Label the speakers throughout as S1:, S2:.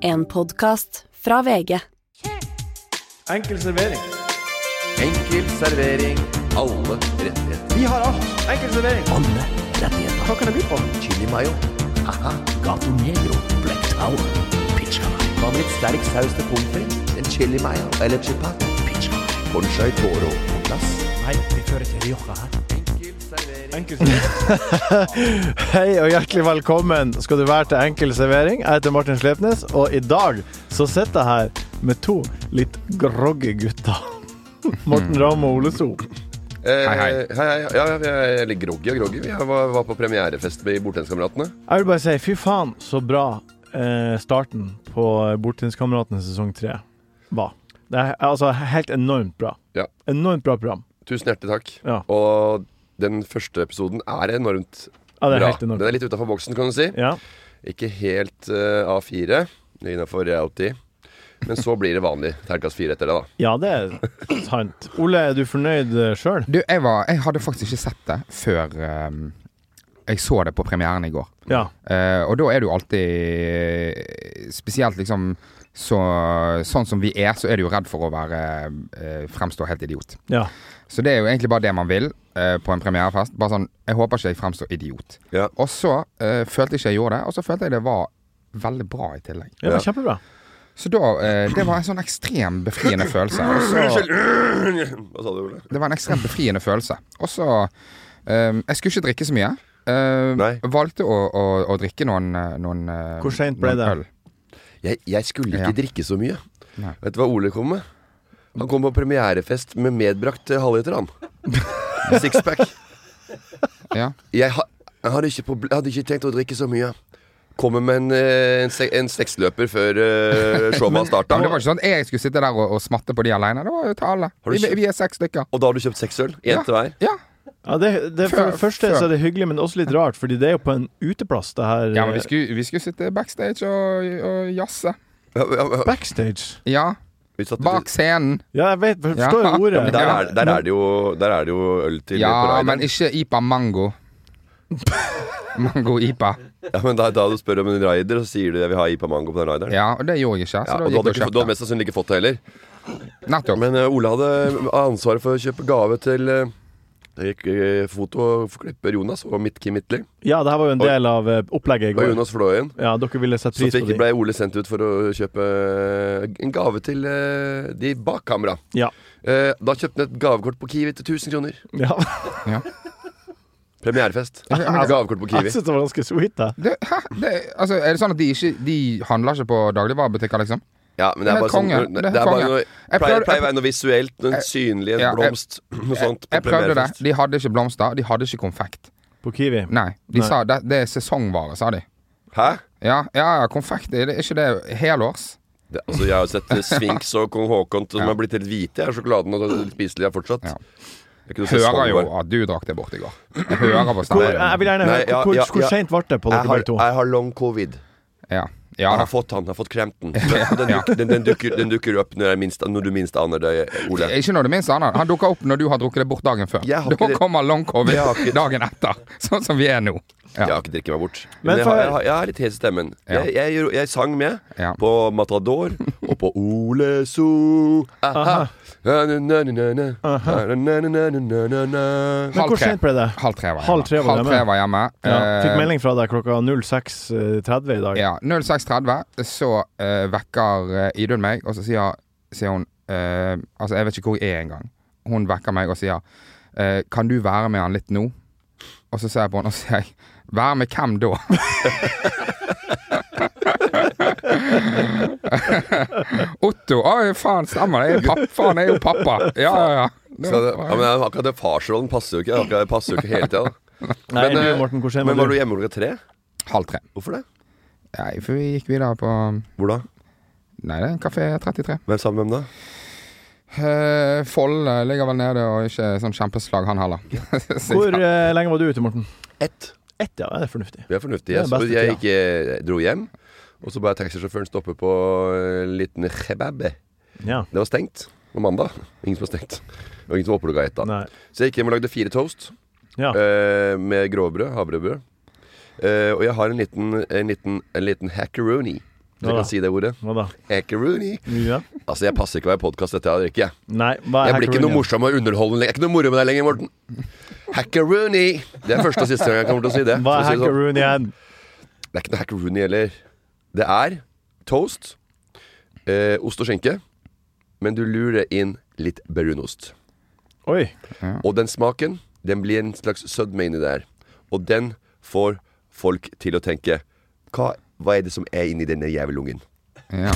S1: En podkast fra VG.
S2: Enkel servering.
S3: Enkel servering. Alle rettigheter.
S2: Vi har alt. Enkel servering.
S3: Alle rettigheter.
S2: Hva kan jeg by på?
S3: Chili mayo. Haha. Gato negro. Black tower. Pizza mayo. Hva med litt sterk saus til pommes frites? En chili mayo eller chipat? Pizza mayo. Conchai toro på plass.
S4: Nei, vi fører til Rioja her.
S3: Enkel servering.
S2: Enkel servering.
S4: Hei og hjertelig velkommen skal du være til Enkel servering. Jeg heter Martin Slepnes, og i dag så sitter jeg her med to litt groggy gutter. Morten Ramm og Ole So.
S3: Hei, hei. Eh, hei, hei. Ja, ja, jeg er litt groggy og groggy. Jeg var, var på premierefest med Bortenskameratene.
S4: Jeg vil bare si fy faen så bra eh, starten på Bortenskameratene sesong tre var. Det er altså helt enormt bra.
S3: Ja.
S4: Enormt bra program.
S3: Tusen hjertelig takk.
S4: Ja.
S3: Og den første episoden er enormt
S4: Ja, det er
S3: bra.
S4: helt enormt.
S3: Den er litt utafor boksen, kan du si.
S4: Ja.
S3: Ikke helt eh, A4 innafor reality. Men så blir det vanlig terningkast fire etter det, da.
S4: ja, det er sant. Ole, er du fornøyd eh, sjøl?
S5: Du, jeg, var, jeg hadde faktisk ikke sett det før ehm, jeg så det på premieren i går.
S4: Ja.
S5: Eh, og da er det jo alltid eh, Spesielt liksom så, sånn som vi er, så er du jo redd for å være eh, fremstå helt idiot.
S4: ja.
S5: Så det er jo egentlig bare det man vil eh, på en premierefest. Bare sånn Jeg håper ikke jeg fremstår idiot.
S3: Ja.
S5: Og så eh, følte jeg ikke jeg gjorde det, og så følte jeg det var veldig bra i tillegg.
S4: Det
S3: Ja.
S4: var kjempebra.
S5: Så da eh, Det var en sånn ekstrem befriende følelse. Og så,
S3: Hva sa du, Ole?
S5: Det var en ekstremt befriende følelse. Og så ehm, Jeg skulle ikke drikke så mye. Ehm,
S3: Nei.
S5: valgte å, å, å drikke noen, eh, noen eh,
S4: Hvor sent ble
S5: noen
S4: det?
S5: øl.
S3: Jeg, jeg skulle ikke
S5: Ja.
S3: drikke så mye.
S5: Nei.
S3: Vet du hva Ole kom med? Han kom på premierefest med medbrakt eh, halvliter, han. Sixpack.
S5: Ja.
S3: Jeg, ha, jeg hadde, ikke proble- hadde ikke tenkt å drikke så mye. Kommer med en, eh, en, se- en seksløper før eh, showet starta.
S5: Men det var ikke sånn at jeg skulle sitte der og, og smatte på de alene. Det var jo til alle.
S3: Har du
S5: Vi,
S3: kjøpt-
S5: vi er seks stykker.
S3: Og da har du kjøpt seks øl? Én
S5: Ja.
S3: til hver?
S5: Ja.
S4: Ja, det, det, for
S5: Før-
S4: det første
S5: før.
S4: så er det hyggelig, men også litt rart, fordi det er jo på en uteplass, det her.
S5: ja, men vi skulle, vi skulle sitte backstage og, og jazze.
S3: Ja, ja, ja.
S4: eh, Backstage.
S5: Ja.
S3: Vi satt-
S5: Bak scenen.
S4: Ja, jeg vet, jeg forstår
S5: Ja.
S4: jo ordet.
S3: Men der, er, der, er det jo, der er det jo øl til på
S5: Ja,
S3: rideren.
S5: men ikke Ipa Mango. Mango Ipa.
S3: Ja, men da, da du spør om en rider, så sier du jeg vil ha IPA Mango på den rideren.
S5: Ja, og det gjorde jeg ikke.
S3: Ja,
S5: Så
S3: og
S5: da
S3: du hadde, ikke,
S5: gikk jeg
S3: du
S5: og
S3: hadde
S5: kjøpte.
S3: mest sannsynlig ikke fått det heller.
S5: Nettopp.
S3: Men eh, Ole hadde ansvaret for å kjøpe gave til eh, jeg gikk, eh, fotoklipper Jonas og mitt Kim Mitli.
S4: Ja, det her var jo en del av eh, opplegget i
S3: Og
S4: går.
S3: Jonas Flåen.
S4: Ja, dere ville sette
S3: Så
S4: pris på
S3: fikk,
S4: det.
S3: ble Ole sendt ut for å kjøpe eh, en gave til eh, de bak kamera.
S4: Ja.
S3: Eh, da kjøpte han et gavekort på Kiwi til 1000 kroner.
S4: ja.
S5: Ja.
S3: Premierefest.
S5: men- altså,
S3: Gavekort på
S4: Jeg
S3: Kiwi.
S4: syns altså, det var ganske sweet, det.
S5: Det, hæ? Det, altså, er det sånn at de ikke De handler ikke på dagligvarebutikker, liksom?
S3: Ja, men det er
S5: Men
S3: bare sånn
S5: konge.
S3: Det
S5: Det er
S3: er bare
S5: konge.
S3: noe
S5: Jeg
S3: Pleier
S5: prøvde-
S3: pleier å være noe visuelt. En synlig en
S5: Ja, jeg-
S3: blomst. Noe sånt. på
S5: Jeg prøvde det.
S3: premierefest.
S5: De hadde ikke blomster, de hadde ikke konfekt.
S4: På Kiwi.
S5: Nei, de
S4: Nei.
S5: sa det, det er sesongvare, sa de.
S3: Hæ?
S5: Ja, ja, ja konfekt, er det er ikke det helårs?
S3: Det, altså, jeg har jo sett eh, Sfinks og kong Haakon som
S5: Ja.
S3: har blitt helt hvite. Jeg er sjokoladen og litt spiselig er fortsatt.
S5: Ja.
S3: Det er ikke noe
S5: Hører jo
S3: sesongvar.
S5: at du drakk det bort i går. Jeg hører på
S4: Hvor,
S5: stemmen.
S4: jeg vil gjerne høre
S3: Nei, ja,
S4: Hvor,
S3: ja,
S4: hvor
S3: ja.
S4: seint ble det på
S3: jeg
S4: dere
S3: har,
S4: begge to?
S3: jeg har long covid.
S5: Ja. ja
S3: Jeg
S5: da.
S3: har fått han, jeg har fått kremten. Den, den, duk- den, den, dukker, den dukker opp når, jeg minst, når du minst aner det, Ole.
S5: Ikke når du minst aner det. Han dukker opp når du har drukket det bort dagen før.
S3: Jeg har ikke
S5: Da
S3: det.
S5: kommer long
S3: Jeg har
S5: covid
S3: ikke-
S5: dagen etter, sånn som vi er nå.
S3: Jeg
S5: Ja.
S3: har ikke drikket meg bort.
S4: Men
S3: Men, jeg,
S4: for-
S3: har, jeg, har, jeg er litt hes i stemmen.
S5: Ja.
S3: Jeg, jeg, gjør- jeg sang med
S5: Ja.
S3: på Matador og på Ole So. Aha. Na-na-na-na-na. Na-na-na-na-na-na-na.
S4: Men hvor
S5: halv tre.
S4: sent ble det?
S5: Halv tre var hjemme.
S4: Halv tre var hjemme.
S5: var hjemme.
S4: Ja. Fikk
S5: Eh,
S4: melding fra deg klokka 06.30 i dag.
S5: Ja, 06.30 så eh, vekker eh, Idun meg, og så sier, sier hun eh, Altså, jeg vet ikke hvor jeg er engang. Hun vekker meg og sier eh, Kan du være med han litt nå? Og så ser jeg på henne og så sier jeg, Være med hvem da? Otto. Å, faen, stemmer det. Jeg er papp, faen, jeg er jo pappa. Ja, ja, ja.
S3: Så det- Ja, men akkurat det farsrollen passer jo ikke. Akkurat det passer jo ikke hele tida.
S4: Nei,
S3: Men,
S4: du,
S3: eh,
S4: Morten, hvor sent
S3: Men var
S4: var
S3: du
S4: du?
S3: hjemme klokka tre?
S5: Halv tre.
S3: Hvorfor det?
S5: Nei, for vi gikk videre på
S3: Hvor da?
S5: Nei, det er Kafé 33.
S3: Hvem sammen med hvem da?
S5: Eh, Folle ligger vel nede, og ikke sånn kjempeslag han heller. Så
S4: Hvor
S5: ja.
S4: eh, lenge var du ute, Morten?
S3: Ett.
S4: Ett, ja. Det er fornuftig.
S3: Vi er fornuftige.
S4: Det er
S3: Så
S4: beste
S3: jeg
S4: tida.
S3: gikk, eh, dro hjem, og så ba jeg taxisjåføren stoppe på eh, en liten kebab. Det
S4: Ja.
S3: var stengt på mandag. Ingen som var stengt. Og ingen som var oppe klokka ett da.
S4: Nei.
S3: Så jeg gikk hjem og lagde fire toast
S4: Ja.
S3: eh, med grovbrød. Havrebrød. Eh, og jeg har en liten, en liten, en liten hackeroni. Dere
S4: Ja.
S3: kan si det ordet.
S4: Hva da?
S3: Hackeroony.
S4: Ja.
S3: Altså, jeg passer ikke å være podkast dette heller ikke, jeg.
S4: Nei, hva er
S3: Jeg blir ikke
S4: hackeroony?
S3: noe morsom og underholdende Jeg er ikke noe moro med deg lenger, Morten. Hackeroony! Det er første og siste gang jeg kommer til å si det.
S4: Hva er
S3: for å si det sånn.
S4: hackeroony igjen?
S3: Det er ikke noe hackeroony heller. Det er toast, eh, ost og skinke, men du lurer inn litt brunost.
S4: Oi.
S3: Og den smaken, den blir en slags sødme inni der. Og den får folk til å tenke hva, hva er det som er inni denne jævelungen?
S5: Ja.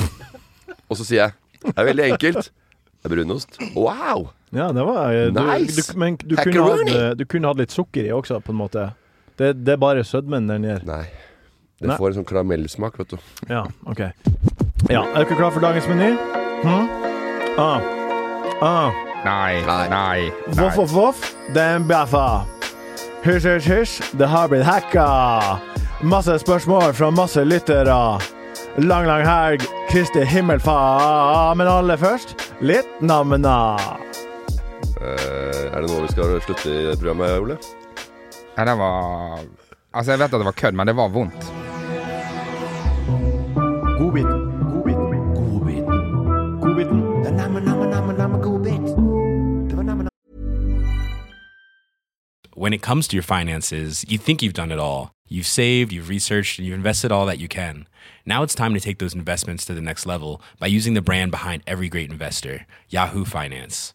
S3: Og så sier jeg det er veldig enkelt. Det er brunost. Wow!
S4: Ja, det var eh, du,
S3: Nice!
S4: du, Men du kunne,
S3: Hackeroony!
S4: hatt, eh, du kunne hatt litt sukker i også, på en måte. Det, det er bare sødmen den gjør.
S3: Nei. Det
S4: Nei.
S3: får en sånn karamellsmak, vet du.
S4: Ja, OK. Ja, er dere klar for dagens meny? Hm? Ah. Ah.
S5: Nei,
S3: Nei.
S5: nei,
S4: Voff,
S5: nei.
S4: voff, voff. Den bjeffa. Hysj, hysj, hysj. Det har blitt hacka. Masse spørsmål fra masse lyttere. Lang, lang helg. Kristi himmelfar. Ah, Men aller først, litt namna.
S3: Eh, er det nå vi skal slutte i det programmet, Ole?
S5: Ja, det var Altså, jeg vet at det var kødd, men det var vondt.
S4: Godbiten. Godbiten. Godbiten.
S6: when it comes to your finances, you think you've done it all. You've saved, you've researched, and you've invested all that you can. Now it's time to take those investments to the next level by using the brand behind every great investor, Yahoo Finance.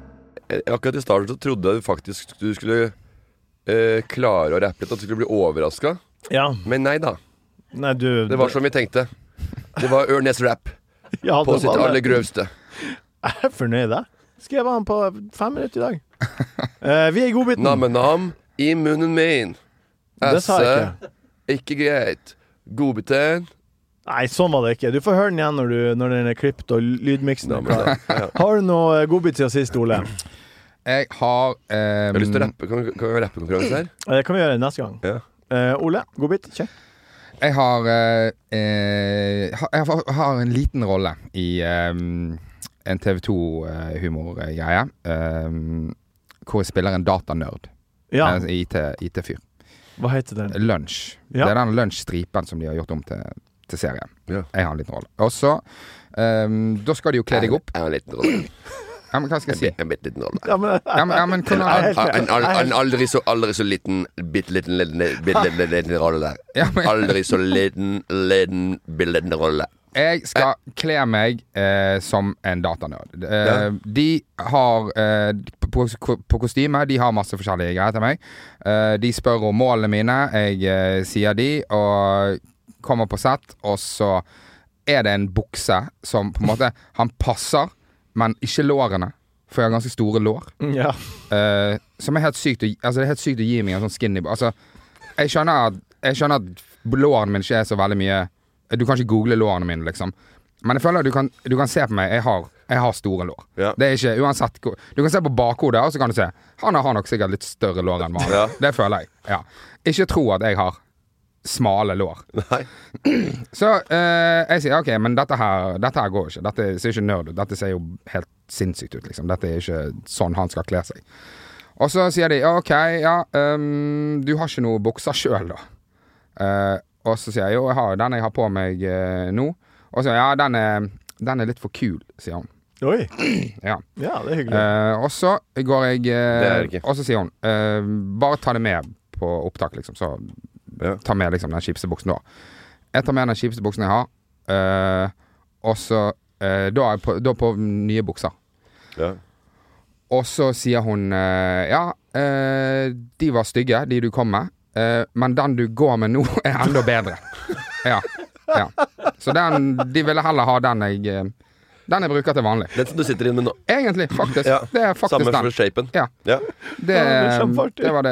S3: Eh, Akkurat i starten så trodde jeg faktisk du skulle eh, klare å rappe litt, at du skulle bli overraska.
S4: Ja.
S3: Men nei da.
S4: Nei, du
S3: Det var som vi tenkte. Det var Ørnes-rap
S4: ja, det
S3: på sitt
S4: var det.
S3: aller grøvste.
S4: Jeg er fornøyd, jeg. Skrev han på fem minutter i dag. Eh, vi er i godbiten.
S3: Nam-nam i munnen min.
S4: Det sa jeg ikke.
S3: ikke greit. Godbiten.
S4: Nei, sånn var det ikke. Du får høre den igjen når, du, når den er klippet og lydmiksen er klar. Har du noe eh, godbit siden sist, Ole? Eh,
S5: Jeg har ehm,
S3: Jeg har lyst til å rappe. Kan, kan vi ha rappekonkurranse her?
S4: Eh, Det kan vi gjøre neste gang.
S3: Ja.
S4: Eh, Ole, godbit. Kjør.
S5: Jeg har, eh, eh, ha- jeg har- har en liten rolle i eh, en TV 2-humorgreie. Eh, hvor jeg spiller en datanerd. eh,
S4: Ja,
S5: En IT, IT-fyr.
S4: hva heter den?
S5: Lunsj.
S4: Ja.
S5: Det er den lunsjstripen som de har gjort om til, til serie.
S3: Ja.
S5: Jeg har en liten rolle. Og så eh, Da skal de jo kle deg opp.
S3: Jeg har en liten rolle.
S5: Ja, men hva skal jeg si?
S3: En bitte liten rolle.
S4: Ja, men,
S5: Ja, men, ja, men, kunne,
S4: Nei,
S3: En, en, al- en aldri så, aldri så liten, bitte liten, liten, bitte liten, liten rolle der.
S5: ja, men,
S3: Aldri så liten, liten, bitte liten rolle.
S5: Jeg skal kle meg eh, som en datanerd. Eh, De har eh, på, på, på kostyme De har masse forskjellige greier til meg. Eh, de spør om målene mine, jeg eh, sier de, og kommer på sett, og så er det en bukse som på en måte Han passer, men ikke lårene, for jeg har ganske store lår.
S4: ja.
S5: Eh, som er helt sykt å, gi- altså, det er helt sykt å gi meg en sånn skinny altså, jeg, skjønner at, jeg skjønner at lårene mine ikke er så veldig mye Du kan ikke google lårene mine, liksom. Men jeg føler at du kan, du kan se på meg. Jeg har, jeg har store lår.
S3: Ja.
S5: Det er ikke, uansett, hvor- du kan se på bakhodet, og så kan du se Han har nok sikkert litt større lår enn vanlig.
S3: Ja.
S5: Det føler jeg. Ja. Ikke tro at jeg har smale lår.
S3: Nei.
S5: Så eh, jeg sier OK, men dette her, dette her går ikke. Dette ser ikke nerd ut. Dette ser jo helt sinnssykt ut, liksom. Dette er ikke sånn han skal kle seg. Og så sier de OK, ja, ehm, du har ikke noe bukser sjøl, da. Eh, og så sier jeg jo, jeg har jo den jeg har på meg eh, nå. Og så sier jeg ja, den er, den er litt for kul, sier hun.
S4: Oi.
S5: Ja.
S4: Ja, det er hyggelig.
S5: Eh, og så går jeg eh,
S3: Det er det ikke.
S5: Og så sier hun eh, Bare ta det med på opptak, liksom. Så
S3: Ja.
S5: ta med liksom, den kjipeste buksen du har. Jeg tar med den kjipeste buksen jeg har, eh, og så eh, da, er jeg på, da på nye bukser.
S3: Ja.
S5: Og så sier hun eh, Ja, eh, de var stygge, de du kom med, eh, men den du går med nå, er enda bedre. Ja. ja. Så den De ville heller ha den jeg eh, Den jeg bruker til vanlig.
S3: Den som du sitter inne med nå.
S5: Egentlig, faktisk.
S3: Ja.
S5: Det er faktisk
S3: Samme
S5: den.
S3: for shapen.
S5: Ja.
S3: Ja.
S5: Det,
S4: det er kjempeartig.
S5: det var det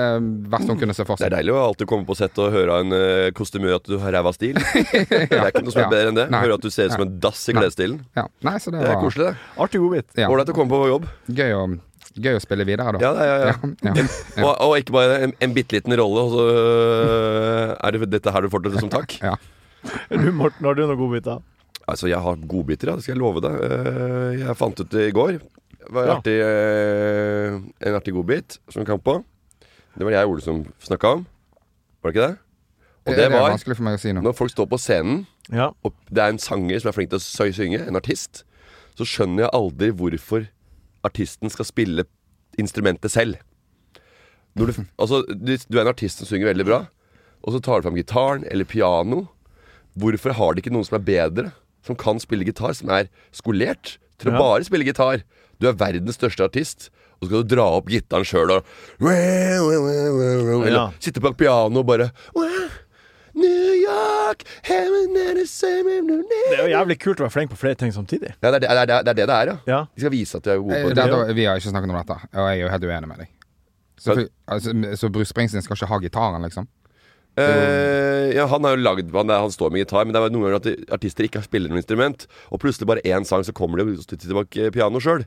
S5: verste hun kunne se for
S3: Det
S5: seg.
S3: er deilig å alltid komme på sett og høre av en uh, kostymør at du har ræva stil. Det er ikke noe som er
S5: Ja.
S3: bedre enn det.
S5: Nei.
S3: Høre at du ser ut som en dass i
S5: Nei.
S3: klesstilen.
S5: Ja. Nei, så det
S3: Det er
S5: var
S3: koselig, det.
S4: Artig godbit.
S5: Ja.
S3: Ålreit å komme på jobb.
S5: gøy å, gøy å spille videre, da.
S3: Ja, ja, ja, ja.
S5: Ja, ja.
S3: Og, og ikke bare en, en bitte liten rolle, og så øh, er det dette her du får til som takk.
S5: Ja.
S4: Du, Morten, har du noen godbiter?
S3: Altså, jeg har godbiter, ja. Det skal jeg love deg. Eh, Jeg fant ut det i går. Det var en
S4: Ja.
S3: artig, eh, en artig godbit som vi kom på. Det var jeg og Ole som snakka om. Var det ikke det? Og det
S5: er
S3: var
S5: vanskelig for meg å si nå.
S3: når folk står på scenen,
S4: Ja.
S3: og det er en sanger som er flink til å sø- synge, en artist, så skjønner jeg aldri hvorfor artisten skal spille instrumentet selv. Når du, altså, du, du er en artist som synger veldig bra, og så tar du fram gitaren eller piano. Hvorfor har de ikke noen som er bedre, som kan spille gitar, som er skolert til å
S4: Ja.
S3: bare spille gitar? Du er verdens største artist, og så skal du dra opp gitaren sjøl og Eller
S4: Ja.
S3: sitte på et piano og bare New York, heaven and the same
S4: Det er jo jævlig kult å være flink på flere ting samtidig.
S3: ja, det, er, det, er, det, er, det er det det er, ja.
S4: Ja.
S3: De skal vise at de er gode på
S5: Eh,
S3: det.
S5: dette, vi har ikke snakket om dette, og jeg er jo helt uenig med deg. Så, altså, så Bruce Springsteen skal ikke ha gitaren, liksom?
S3: Eh, ja, han har jo lagd han, er- han står med gitar, men det er jo noen ganger at de- artister ikke spiller noe instrument, og plutselig bare én sang, så kommer de jo tilbake piano sjøl.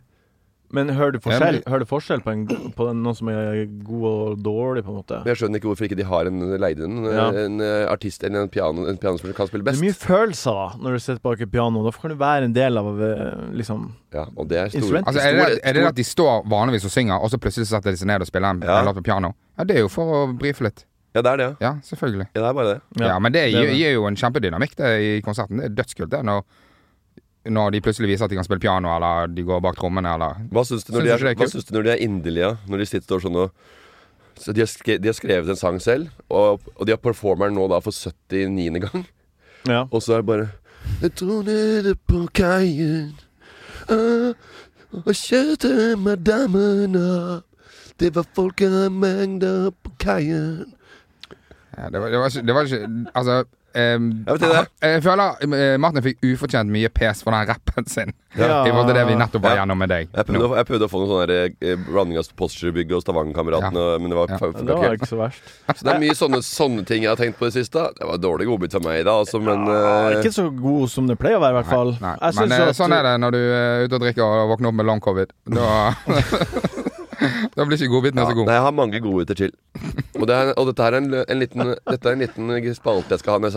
S4: Men hører du forskjell,
S5: Ja,
S4: hører du forskjell på, en, på den, noen som er god og dårlig, på en måte?
S3: Men jeg skjønner ikke hvorfor ikke de har en leid inn en,
S4: Ja.
S3: en eh, artist eller en, piano, en pianospiller som kan spille
S4: Det er
S3: best.
S4: mye følelser da, når du sitter bak et piano. Da kan du være en del av eh, liksom
S3: Ja, og det er store
S4: Instrument?
S5: Altså, er, det,
S3: Store-
S5: er det
S3: store-
S5: at de står vanligvis og synger, og så plutselig setter de seg ned og spiller en
S3: Ja.
S5: en låt på piano? Ja, Det er jo for å brife litt.
S3: Ja, det er det, ja.
S5: Ja, selvfølgelig.
S3: ja. Det er bare det.
S5: Ja, Men det
S4: det er
S5: gir,
S4: det.
S5: gir jo en kjempedynamikk det, i konserten. Det er dødskult det når, når de plutselig viser at de kan spille piano, eller de går bak trommene, eller
S3: Hva syns du, når de
S5: Syns
S3: er-
S5: du ikke det er
S3: hva
S5: kult?
S3: syns du når de er inderlige? Når de sitter sånn og så de, har skre, de har skrevet en sang selv, og, og de har performeren nå da for 79. gang.
S4: Ja.
S3: Og så er det bare Jeg dro nede på kaien ah, og kjørte med dammen opp. Det var folkemengder på kaien.
S5: ja, det, var, det, var ikke, det var ikke Altså ehm,
S3: Jeg vet ikke det.
S5: jeg føler eh, Martin fikk ufortjent mye pes for den rappen sin.
S4: Ja.
S5: I forhold til det vi nettopp var
S3: Ja.
S5: gjennom med deg.
S3: Jeg prøvde,
S5: nå.
S3: å, jeg prøvde å få noen sånne der, eh, blanding av Posturebygg og Stavangerkameratene, og- men det var
S5: Ja.
S3: fa-
S4: Det var
S3: funka ikke.
S4: ikke så verst.
S3: Så det er mye sånne, sånne ting jeg har tenkt på i det siste. Det var dårlig godbit av meg i dag, altså, men
S4: Ja,
S3: eh,
S4: ikke så god som det pleier å være, i hvert fall.
S5: Nei,
S4: Jeg
S5: men
S4: synes
S5: eh,
S4: at-
S5: sånn er det når du er ute og drikker og våkner opp med long covid. Da, da blir ikke godbitene så
S3: Ja,
S5: gode.
S3: nei, jeg har mange godbiter til. Og, det er, og dette her er en, lø- en liten, dette er en liten spalte jeg skal ha med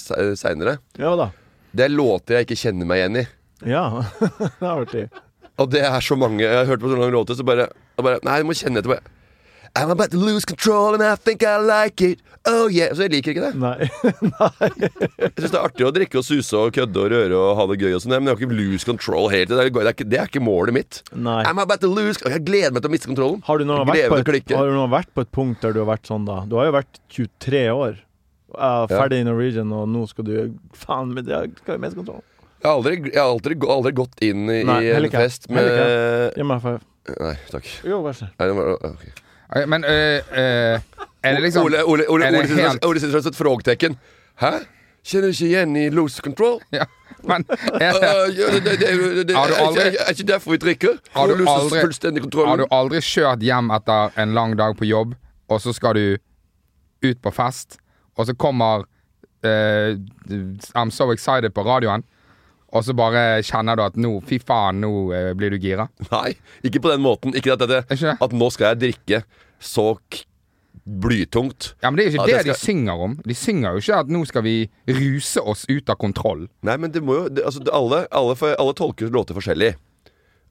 S3: se- seinere.
S4: Ja da.
S3: Det er låter jeg ikke kjenner meg igjen i.
S4: Ja. det er artig.
S3: Og det er så mange. Jeg har hørt på så mange låter, så bare, og bare Nei, jeg må kjenne etter. Bare. I'm about to lose control and I think I like it. Oh yeah. Så jeg liker ikke det.
S4: Nei.
S3: Jeg syns det er artig å drikke og suse og kødde og røre og ha det gøy og sånn, men jeg har ikke lose control helt. Det er, det er, ikke, det er ikke målet mitt.
S4: Nei.
S3: I'm about to lose Jeg gleder meg til å miste kontrollen.
S4: Har du, nå vært
S3: Jeg gleder
S4: på
S3: meg til å
S4: et,
S3: klikke.
S4: har du nå vært på et punkt der du har vært sånn, da? Du har jo vært 23 år. eh, ferdig i Norwegian, og nå skal du Faen, men det er- skal jo mest kontroll.
S3: Jeg har aldri, jeg har aldri, gå- aldri gått inn i
S4: Nei, heller
S3: en
S4: ikke.
S3: fest
S4: Heller
S3: med
S4: Gi meg five.
S3: Nei, takk.
S4: Jo, vær så snill.
S3: Nei, det var, ok.
S5: Ok, Men eh, eh, er det liksom
S3: Ole, Ole, Ole,
S5: er
S3: Ole,
S5: det
S3: sitter-
S5: helt-
S3: Ole sitter som et frågetecken. Hæ? Kjenner du ikke igjen i lose control?
S5: ja, men, eh, er det,
S3: Øh, ja, det- det- det- det- det-
S5: Har du
S3: er
S5: aldri-
S3: ikke- Er ikke derfor vi drikker?
S5: har,
S3: Vi
S5: du
S3: løser
S5: aldri,
S3: fullstendig kontroll.
S5: har du aldri kjørt hjem etter en lang dag på jobb, og så skal du ut på fest, og så kommer eh, I'm so excited på radioen, og så bare kjenner du at nå, fy faen, nå eh, blir du gira?
S3: Nei, ikke på den måten. Ikke at, dette-
S5: Ikke det?
S3: at nå skal jeg drikke så k blytungt.
S5: Ja, men Det er
S3: Ja,
S5: ikke
S3: det
S5: det,
S3: skal-
S5: de synger om. De synger jo ikke at 'nå skal vi ruse oss ut av kontroll'.
S3: Nei, men det må jo det, altså, det, alle, alle, for- alle tolker låter forskjellig.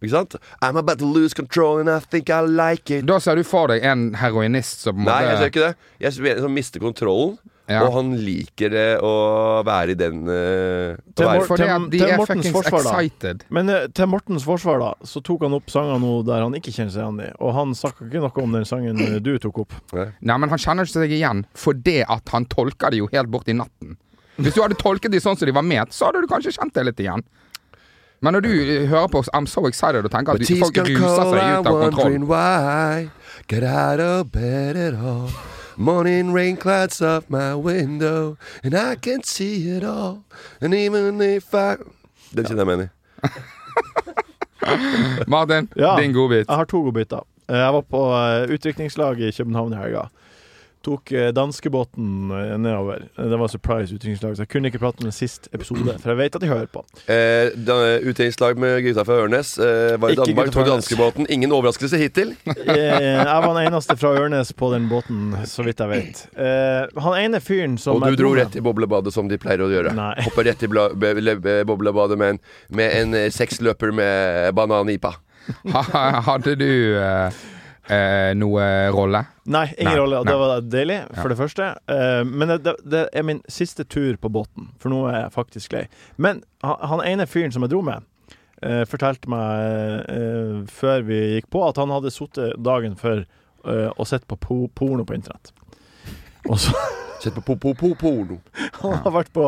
S3: Ikke sant? I'm about to lose control and I think I like it.
S5: Da ser du for deg en heroinist som på en
S3: Nei, jeg ser
S5: måte
S3: ikke det. Jeg ser en som mister kontrollen.
S5: Ja.
S3: Og han liker det å være i den eh, å
S4: Til
S3: være-
S4: Mor-
S5: Fordi at
S4: Til-
S5: de
S4: til
S5: er
S4: Mortens
S5: fuckings
S4: forsvar, da.
S5: excited.
S4: Men eh, til Mortens forsvar, da, så tok han opp sanger nå der han ikke kjenner seg igjen i. Og han snakka ikke noe om den sangen eh, du tok opp.
S5: Nei, men han kjenner ikke seg igjen fordi at han tolker det jo helt bort i natten. Hvis du hadde tolket de sånn som de var ment, så hadde du kanskje kjent det litt igjen. Men når du eh, hører på oss I'm so excited og tenker at du, folk ruser seg ut av kontroll
S3: wondering why. Get out of bed at all. Morning rain clouds up my window, and I can see it all. And even if I Den kjenner jeg meg igjen i.
S5: Martin,
S4: Ja. Ah.
S5: din godbit.
S4: Jeg har to godbiter. Eh, Jeg var på eh, utdrikningslag i København i helga. Tok eh, danskebåten eh, nedover. Eh, Det var surprise utdrikningslag, så jeg kunne ikke prate om den siste episode, for jeg vet at de hører på.
S3: Eh, da- Utdelingslag med gutta fra Ørnes. Eh, var i
S4: Ikke
S3: Danmark,
S4: gutta fra
S3: tok
S4: Ørnes.
S3: danskebåten. Ingen overraskelse hittil.
S4: Jeg, Eh, jeg var den eneste fra Ørnes på den båten, så vidt jeg vet. Eh, han ene fyren som
S3: Og du dro rett i boblebadet, som de pleier å gjøre.
S4: Nei.
S3: Hoppa rett i bla- be- le- be- boblebadet med en, med en eh, sexløper med banan-ipa.
S5: Hadde du eh, eh, noe rolle?
S4: Nei, ingen
S5: Nei,
S4: rolle. Og det
S5: nei.
S4: var deilig, for det første. Eh, men det, det er min siste tur på båten, for nå er jeg faktisk lei. Men han, han ene fyren som jeg dro med, eh, fortalte meg eh, før vi gikk på, at han hadde sittet dagen før eh, og sett på po porno på internett. Og så
S3: Sett på po-po-po-porno.
S4: han har vært på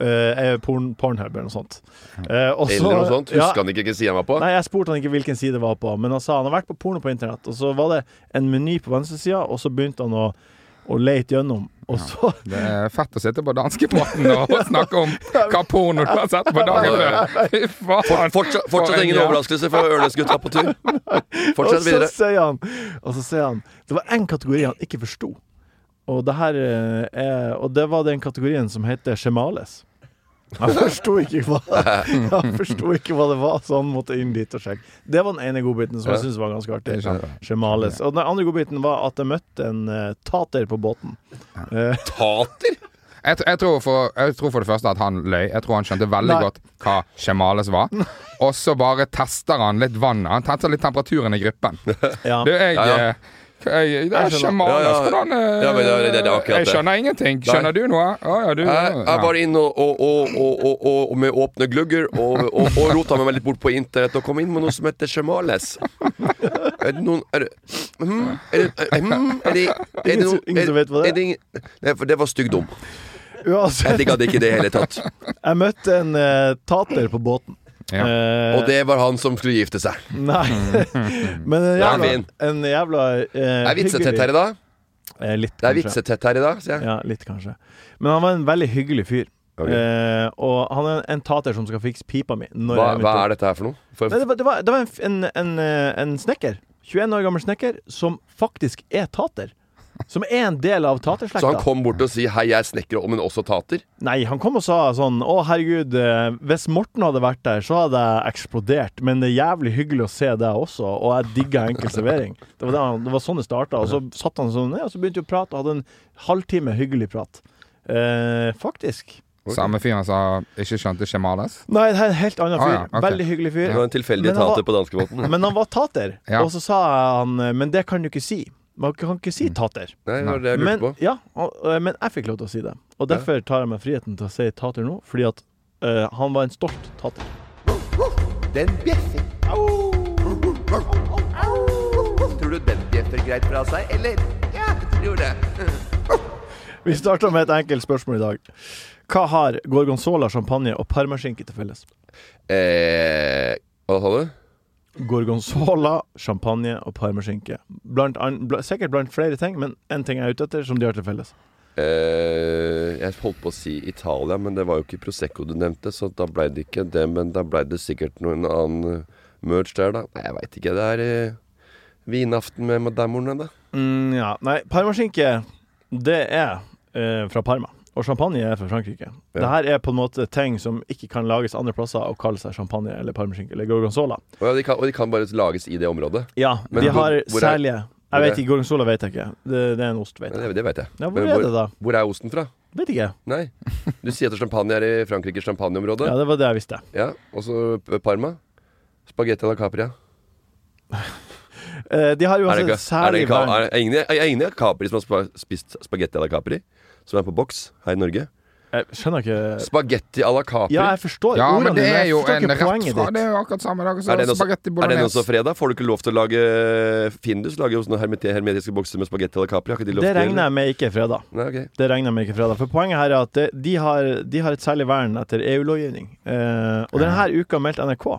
S4: eh, porn, Pornhub eller noe sånt. Eh, og så-
S3: Eller noe sånt.
S4: Ja,
S3: Husker han ikke hvilken side han var på?
S4: Nei, jeg spurte han ikke hvilken side det var på, men han sa han har vært på porno på internett. Og så var det en meny på venstresida, og så begynte han å, å lete gjennom. Og så
S5: Det er fett å sitte på danskebåten og snakke om hva porno du har sett på dagen før. Fy faen.
S3: Fortsatt,
S5: For
S3: fortsatt
S5: en
S3: ingen
S5: gjeng.
S3: overraskelse for Ørnes-gutta på tur. Fortsett
S4: og
S3: videre.
S4: så sier han Og så sier han Det var én kategori han ikke forsto. Og det her eh, er Og det var den kategorien som heter Shemales. Han forsto ikke hva Han forsto ikke hva det var, så han måtte inn dit og sjekke. Det var den ene godbiten som jeg syntes var ganske
S5: Det er
S4: artig.
S5: kjempe.
S4: Shemales. Og den andre godbiten var at jeg møtte en eh, tater på båten. Eh,
S3: Tater?
S5: Jeg, tr- jeg, tror for, jeg tror for det første at han løy. Jeg tror han skjønte veldig
S4: Nei.
S5: godt hva Shemales var. Og så bare tester han litt vannet. Han tester litt temperaturen i gruppen.
S4: ja.
S5: Du, jeg,
S3: Ja, ja.
S5: jeg Det
S4: Jeg
S5: er
S4: skjønner.
S5: Shemales.
S3: Ja, ja.
S5: Hvordan eh,
S3: Ja, men det er- det er akkurat
S5: Jeg
S3: det.
S5: skjønner ingenting. Skjønner du noe? Å, ja, du,
S3: Jeg, jeg var inn og, og, og, og, og, og, og med åpne glugger og, og, og rota meg litt bort på internett og kom inn med noe som heter Shemales. Er det noen Er det hm, Er det, er, hm, er det, er det
S4: Ingen som- ingen som vet hva det er?
S3: er det ingen- Nei, for det var stygg dum.
S4: Uansett,
S3: Jeg digga det ikke i det hele tatt.
S4: jeg møtte en eh, tater på båten.
S5: Ja.
S4: Eh,
S3: Og det var han som skulle gifte seg.
S4: Nei. Men en
S3: Ja,
S4: jævla,
S3: fin.
S4: en jævla eh,
S3: Det er vitsetett her i dag.
S4: Eh, litt,
S3: Det er
S4: kanskje.
S3: vitsetett her i dag, sier jeg.
S4: Ja, litt, kanskje. Men han var en veldig hyggelig fyr.
S3: Ok.
S4: Eh, og han er en tater som skal fikse pipa mi. Når
S3: Hva,
S4: jeg
S3: hva er dette her for noe? For,
S4: Nei, det var, det var, det var en, f- en, en, eh, en snekker. 21 år gammel snekker som faktisk er tater. Som er en del av
S3: så han
S4: taterslekta.
S3: kom bort og sa 'hei, jeg er snekker, men også tater'?
S4: Nei, han kom og sa sånn Å, herregud, eh, hvis Morten hadde vært der, så hadde jeg eksplodert. Men det er jævlig hyggelig å se deg også, og jeg digga enkel servering. Det var, det, han- det var sånn det starta. Og så satt han sånn ned, og så begynte vi å prate, og hadde en halvtime hyggelig prat. Eh, faktisk.
S5: Samme fyren som ikke skjønte Shemales?
S4: Nei, det er en helt annen fyr.
S5: Ah, ja, ok.
S4: Veldig hyggelig fyr.
S3: Det var en tilfeldig
S4: Men han var-
S3: tater på danskebåten.
S4: Men han var tater.
S5: Ja.
S4: Og så sa han eh, Men det kan du ikke si. Man kan ikke
S5: Mm.
S4: si tater.
S3: Nei, det var det jeg lurte
S4: Men,
S3: på.
S4: ja, og, eh, men jeg fikk lov til å si det. Og derfor tar jeg meg friheten til å si tater nå, fordi at eh, han var en stolt tater.
S7: Den bjeffer. Tror du den bjeffer greit fra seg, eller? Ja, jeg tror det.
S4: Vi starter med et enkelt spørsmål i dag. Hva har gorgonzola, champagne og parmaskinke til felles?
S3: Eh, hva sa du?
S4: Gorgonzola, champagne og parmaskinke. Blant an, bl sikkert blant flere ting, men én ting jeg er ute etter, som de har til felles.
S3: Eh, jeg holdt på å si Italia, men det var jo ikke Prosecco du nevnte, så da ble det ikke det. Men da ble det sikkert noen annen eh, merch der, da. Nei, jeg veit ikke. Det er eh, vinaften med madammorene, da.
S4: Mm, ja. Nei, parmaskinke, det er eh, fra Parma. Og champagne er fra Frankrike.
S3: Ja.
S4: Det her er på en måte ting som ikke kan lages andre plasser og kalle seg champagne eller parmaskinke eller gorgonzola.
S3: Og, ja, de kan, og de kan bare lages i det området.
S4: Ja,
S3: Men
S4: de
S3: hvor-
S4: har
S3: hvor er-
S4: særlige
S3: hvor
S4: Jeg
S3: er-
S4: vet ikke, gorgonzola vet jeg ikke. Det, det er en ost, vet
S3: Nei,
S4: jeg.
S3: det, det veit jeg.
S4: Ja, hvor
S3: Men
S4: er det da?
S3: Hvor er osten fra?
S4: Vet ikke.
S3: Nei. Du sier at champagne er i Frankrikes champagneområde.
S4: Ja, det var det jeg visste.
S3: Ja. Og så eh, Parma. Spagetti à la Capria.
S4: Eh, de har jo altså et
S3: Er det, ikke- er det,
S4: særlig
S3: ikke-
S4: vern.
S3: er det ingen, er ingen Capri som har spa- spist spagetti à la Capri? Som er på boks her i Norge?
S4: Jeg skjønner ikke
S3: Spagetti à la
S4: Eh.
S3: Capri.
S4: Ja, jeg forstår
S5: Ja,
S4: ordene,
S5: men det
S4: men
S5: er
S4: jeg
S5: jo
S4: forstår
S5: en
S4: ikke
S5: rett
S4: poenget
S5: fra Det
S4: ditt.
S5: er jo akkurat samme dag.
S3: Er den,
S5: Så
S3: også,
S5: spagetti
S3: er den også
S5: bolognese.
S3: fredag? Får du ikke lov til å lage eh, Findus? Lager jo sånne hermete- hermetiske bokser med spagetti à la Capri. Har ikke de lov
S4: Det
S3: til
S4: regner jeg med ikke er fredag.
S3: Nei, ok.
S4: Det regner jeg med ikke fredag. For poenget her er at det- de har, de har et særlig vern etter EU-lovgivning. Eh, og denne uka meldte NRK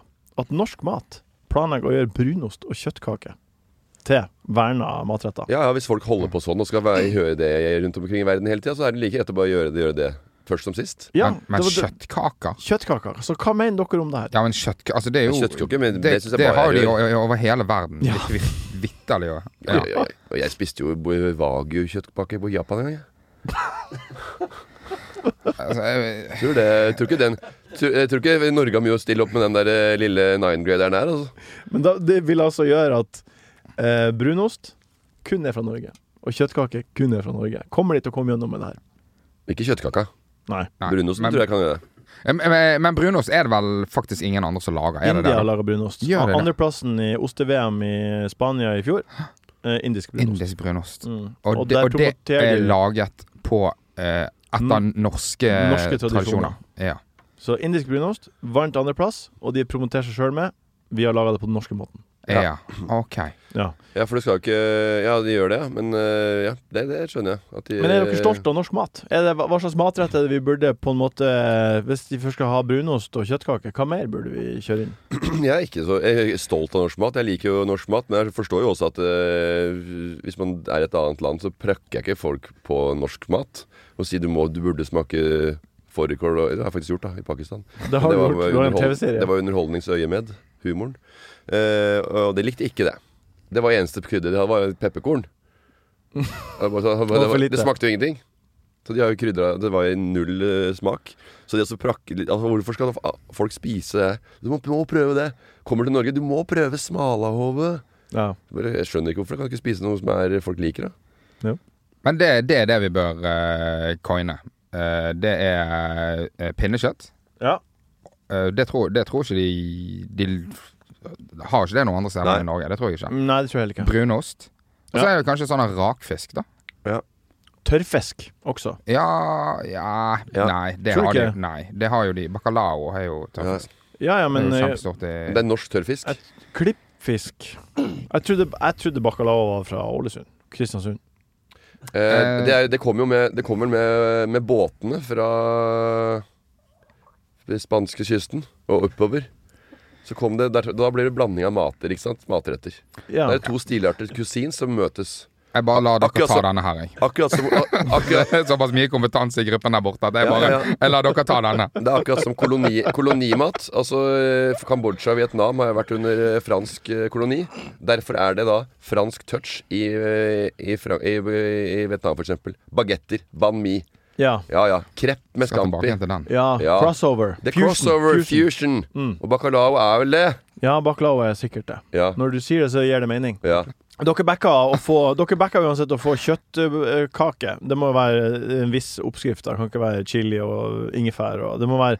S4: at norsk mat planlegger å gjøre brunost og kjøttkake til verna matretter.
S3: Ja, ja, Hvis folk holder på sånn og skal være, høre det rundt omkring i verden hele tida, så er det like greit å bare gjøre det, gjøre det først som sist.
S4: Ja,
S5: Men, men
S4: det var det-
S5: kjøttkaker
S4: Kjøttkaker. Så hva mener dere om det her?
S5: Ja, men kjøttkaker Altså, det er jo
S3: Kjøttkaker, men det
S5: det,
S3: synes jeg
S5: det
S3: bare er
S5: har de jo
S3: rør.
S5: o- over hele verden. Ja. Vitterlig. jo. Ja.
S3: Og jeg, og jeg spiste jo wagyu-kjøttpakke på Japan en gang.
S5: Altså, jeg-
S3: Tror, det, tror ikke den tror, Jeg tror ikke Norge har mye å stille opp med den der eh, lille nine-graderen der. Altså.
S4: Men da, det vil altså gjøre at eh, brunost kun er fra Norge. Og kjøttkake kun er fra Norge. Kommer de til å komme gjennom med det her?
S3: Ikke kjøttkaka.
S4: Nei.
S5: nei,
S3: Brunosten
S5: men-
S3: tror jeg kan gjøre det.
S5: Eh, Men, men brunost er det vel faktisk ingen andre som lager? Er det det?
S4: India
S5: da?
S4: lager brunost.
S5: Gjør det det?
S4: Andreplassen i oste-VM i Spania i fjor. Eh, indisk brunost.
S5: Indisk brunost.
S4: Mm.
S5: Og,
S4: Og
S5: det,
S4: der
S5: og det
S4: promoterer
S5: er
S4: de-
S5: laget på eh, etter norske,
S4: Mm. Norske tradisjoner.
S5: tradisjoner. Ja.
S4: Så indisk brunost vant andreplass, og de promoterer seg sjøl med Vi har laga det på den norske måten.
S5: Ja. OK.
S4: Ja.
S3: Ja, for det skal jo ikke Ja, de gjør det, ja. Men eh, ja, det, det skjønner jeg. At de,
S4: Men er dere stolt av norsk mat? Er det, hva hva slags matrett er det vi burde på en måte Hvis de først skal ha brunost og kjøttkake, hva mer burde vi kjøre inn?
S3: Jeg er ikke så jeg er stolt av norsk mat. Jeg liker jo norsk mat, men jeg forstår jo også at eh, hvis man er i et annet land, så prakker jeg ikke folk på norsk mat og sier du, må, du burde smake fårikål. og- Det har jeg faktisk gjort, da, i Pakistan.
S4: Det har
S3: det
S4: vi
S3: var,
S4: gjort. Det var en
S3: underhold-
S4: TV-serie.
S3: det var underholdningsøyemed, humoren. Eh, og det likte ikke det. Det var eneste krydder. Det var pepperkorn. Det, var- det, var-
S4: var for
S3: det,
S4: lite.
S3: var- det smakte jo ingenting. Så de har jo krydra Det var jo null eh, smak. Så det å så prakke litt altså, Hvorfor skal da f- folk spise det? Du må, må prøve det. Kommer du til Norge, du må prøve smalahove.
S4: Ja.
S3: Bare, Jeg skjønner ikke hvorfor. Jeg kan ikke spise noe som er folk liker. da
S5: Men det, det er det vi bør eh, coine. Eh, det er eh, pinnekjøtt.
S4: ja.
S5: Eh, det, tror, det tror ikke de De har ikke det noen andre steder
S3: Nei.
S5: enn i Norge. Det tror jeg ikke.
S4: Mm, Nei, det tror jeg heller ikke.
S5: Brunost. Og så
S4: Ja.
S5: er det kanskje sånn rakfisk, da.
S4: Tørrfisk også.
S5: Ja, ja,
S3: Ja.
S5: Nei, det
S4: Tror du
S5: har de,
S4: ikke?
S5: nei, det har jo de. Bacalao har jo tørrfisk.
S4: Ja, ja, men
S5: det er jo
S4: eh,
S5: kjempestort i
S3: Det er norsk tørrfisk.
S4: Jeg- klippfisk Jeg trodde, jeg trodde bacalao var fra Ålesund. Kristiansund.
S3: Eh, det, er, det kommer jo med, det kommer med, med båtene fra den spanske kysten og oppover. Så kom det, der, da blir det blanding av mater, ikke sant? matretter.
S4: Ja.
S3: Det er to stilarter kusin som møtes.
S5: Jeg bare lar dere
S3: Akkurat
S5: ta
S3: som-
S5: denne her, jeg.
S3: Akkurat som, a- akkurat,
S5: Det er såpass mye kompetanse i gruppen der borte at jeg
S3: Ja,
S5: bare
S3: ja, ja.
S5: Jeg lar dere ta denne.
S3: det er akkurat som koloni, kolonimat. Altså eh, Kambodsja og Vietnam har jo vært under eh, fransk eh, koloni. Derfor er det da fransk touch i, eh, i, Fran- i, i Vietnam, f.eks. Bagetter. Banh mi.
S4: Ja.
S3: Ja ja. Krepp med
S5: Skal tilbake
S3: scampi.
S5: igjen til den.
S4: ja.
S3: Ja.
S4: Crossover.
S3: Det er crossover fusion. Mm. Og bacalao er vel det?
S4: Ja, bacalao er sikkert det.
S3: Ja.
S4: Når du sier det, så gir det mening.
S3: ja.
S4: Dere backa, å få, dere backa uansett å få kjøttkake. Det må være eh, en viss oppskrift. da. Det kan ikke være chili og ingefær. Og, det må være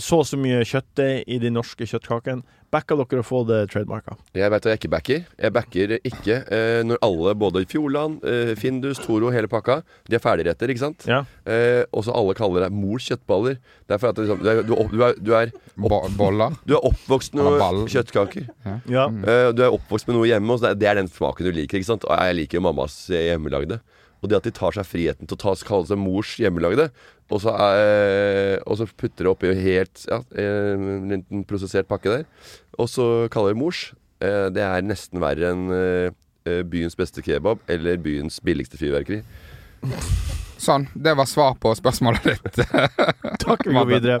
S4: så og så mye kjøttdeig i de norske kjøttkakene. Backa dere å få det trademarka.
S3: Jeg veit at jeg ikke backer. Jeg backer ikke eh, når alle, både Fjordland, eh, Findus, Toro, hele pakka, de er ferdigretter, ikke sant?
S4: Ja.
S3: Eh, og så alle kaller deg mors kjøttballer. Det er for at det, liksom, du, er, du, er- du, er, du, er,
S5: Bo boller.
S3: du er oppvokst med
S5: Eller
S3: noe
S5: ball.
S3: kjøttkaker.
S4: Ja.
S3: Eh, du er oppvokst med noe hjemme, og så det er- det er den smaken du liker. ikke sant? Og jeg liker jo mammas eh, hjemmelagde. Og det at de tar seg friheten til å ta, kalle seg mors hjemmelagde, og så, eh, og så putter det oppi helt ja, eh, en liten prosessert pakke der, og så kaller det mors, eh, det er nesten verre enn eh, eh, byens beste kebab eller byens billigste fyrverkeri.
S5: Sånn. Det var svar på spørsmålet ditt.
S4: Takk, vi går videre.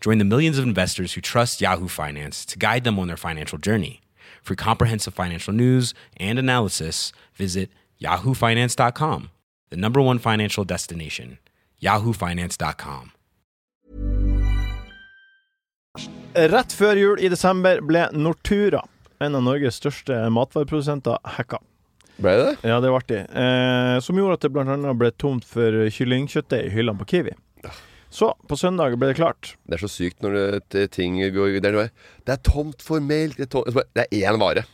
S6: Join the millions of investors who trust Yahoo Finance to guide them on their financial journey. For comprehensive financial news and analysis, visit yahoofinance.com, the number one financial destination, yahoofinance.com.
S4: Rett før jul i desember ble Nortura, en av Norges største matvareprodusenter, hacka.
S3: Ble det det?
S4: Ja, det var artig. Eh, som gjorde at det bl.a. ble tomt for kyllingkjøttet i hyllene på Kiwi. Så, på søndag ble det klart.
S3: Det er så sykt når det, t- ting går det er, bare, det er tomt for melk. Det er, tomt, det er én vare.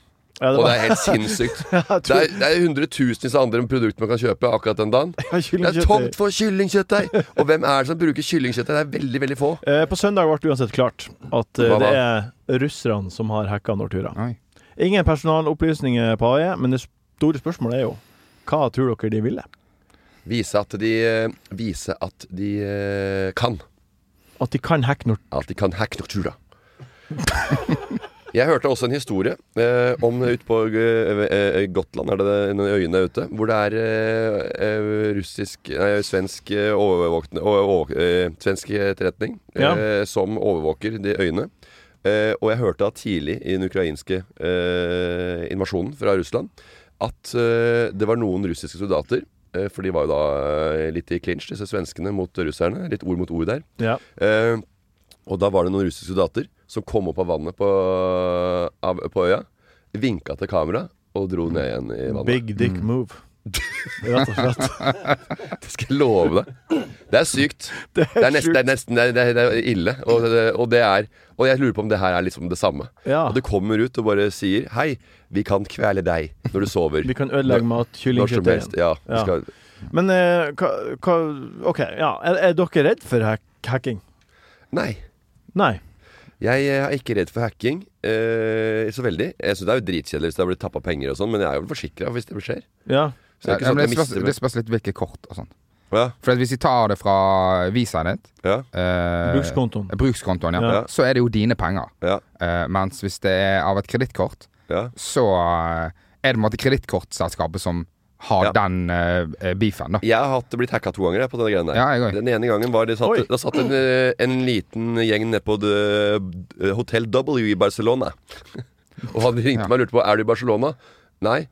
S4: Ja,
S3: Og det er helt sinnssykt.
S4: Jeg
S3: Det
S4: tror-
S3: er, det er hundretusenvis av andre produkter man kan kjøpe akkurat den dagen.
S4: Ja,
S3: Det
S4: kyllingkjøttet.
S3: er tomt for kyllingkjøttdeig! Og hvem er det som bruker kyllingkjøttdeig? Det er veldig, veldig få.
S4: Eh, på søndag ble det uansett klart at eh,
S3: Hva
S4: det er russerne som har hacka Nortura.
S5: Oi.
S4: Ingen personalopplysninger på AE, men det store spørsmålet er jo hva tror dere de ville?
S3: Vise at de, eh, vise at de eh, kan.
S4: At de kan hacke Nortura?
S3: At de kan hacke Nortura. Jeg hørte også en historie eh, om ute på eh, eh, Gotland, er det det, noen øyene der ute, hvor det er eh, eh, russisk Nei, svensk eh, overvåkende og- og- eh, Svensk etterretning
S4: Ja.
S3: eh, som overvåker de øyene. Eh, og jeg hørte at tidlig i den ukrainske eh, invasjonen fra Russland at eh, det var noen russiske soldater eh, For de var jo da eh, litt i clinch, disse svenskene mot russerne. Litt ord mot ord der.
S4: Ja.
S3: Eh, og da var det noen russiske soldater som kom opp av vannet på, av, på øya, vinka til kamera og dro ned igjen i vannet.
S4: Big dick move. Rett og slett.
S3: Det skal jeg love deg. Det er sykt.
S4: Det
S3: Det er nesten, det er, nesten det er, det er, det er ille. Og, det, og det er Og jeg lurer på om det her er liksom det samme.
S4: Ja.
S3: Og det kommer ut og bare sier 'Hei, vi kan kvele deg når du sover'.
S4: Vi kan ødelegge mat,
S3: Når som
S4: kyllingkjøttet
S3: helst.
S4: igjen.
S3: Ja, vi
S4: Ja.
S3: skal
S4: Men eh, hva, hva OK, ja. Er, er dere redd for hack hacking?
S3: Nei.
S4: Nei.
S3: Jeg er ikke redd for hacking eh, så veldig. Jeg synes Det er jo dritkjedelig hvis det har blitt tappa penger og sånn, men jeg er jo forsikra hvis det skjer.
S4: Ja.
S3: Så det er
S5: Ja,
S3: ikke sånn
S5: men
S3: at
S5: det,
S3: jeg
S5: spørs,
S3: mister
S5: det spørs litt hvilke kort og sånn.
S3: Ja,
S5: For at hvis vi tar det fra visaen ditt
S3: ja,
S5: eh,
S4: Brukskontoen.
S5: Brukskontoen, ja.
S4: Ja.
S5: Så er det jo dine penger.
S3: ja,
S5: Eh, mens hvis det er av et kredittkort,
S3: ja.
S5: så eh, er det på en måte kredittkortselskapet som har
S3: Ja.
S5: den eh, eh, beefen, da.
S3: Jeg har hatt, blitt hacka to ganger jeg, på denne greia der.
S5: Ja, jeg òg.
S3: Den ene gangen var det
S4: Oi.
S3: satt, da satt en, eh, en liten gjeng nede på the, eh, Hotel W i Barcelona. og han ringte
S5: Ja.
S3: meg og lurte på Er du i Barcelona. Nei,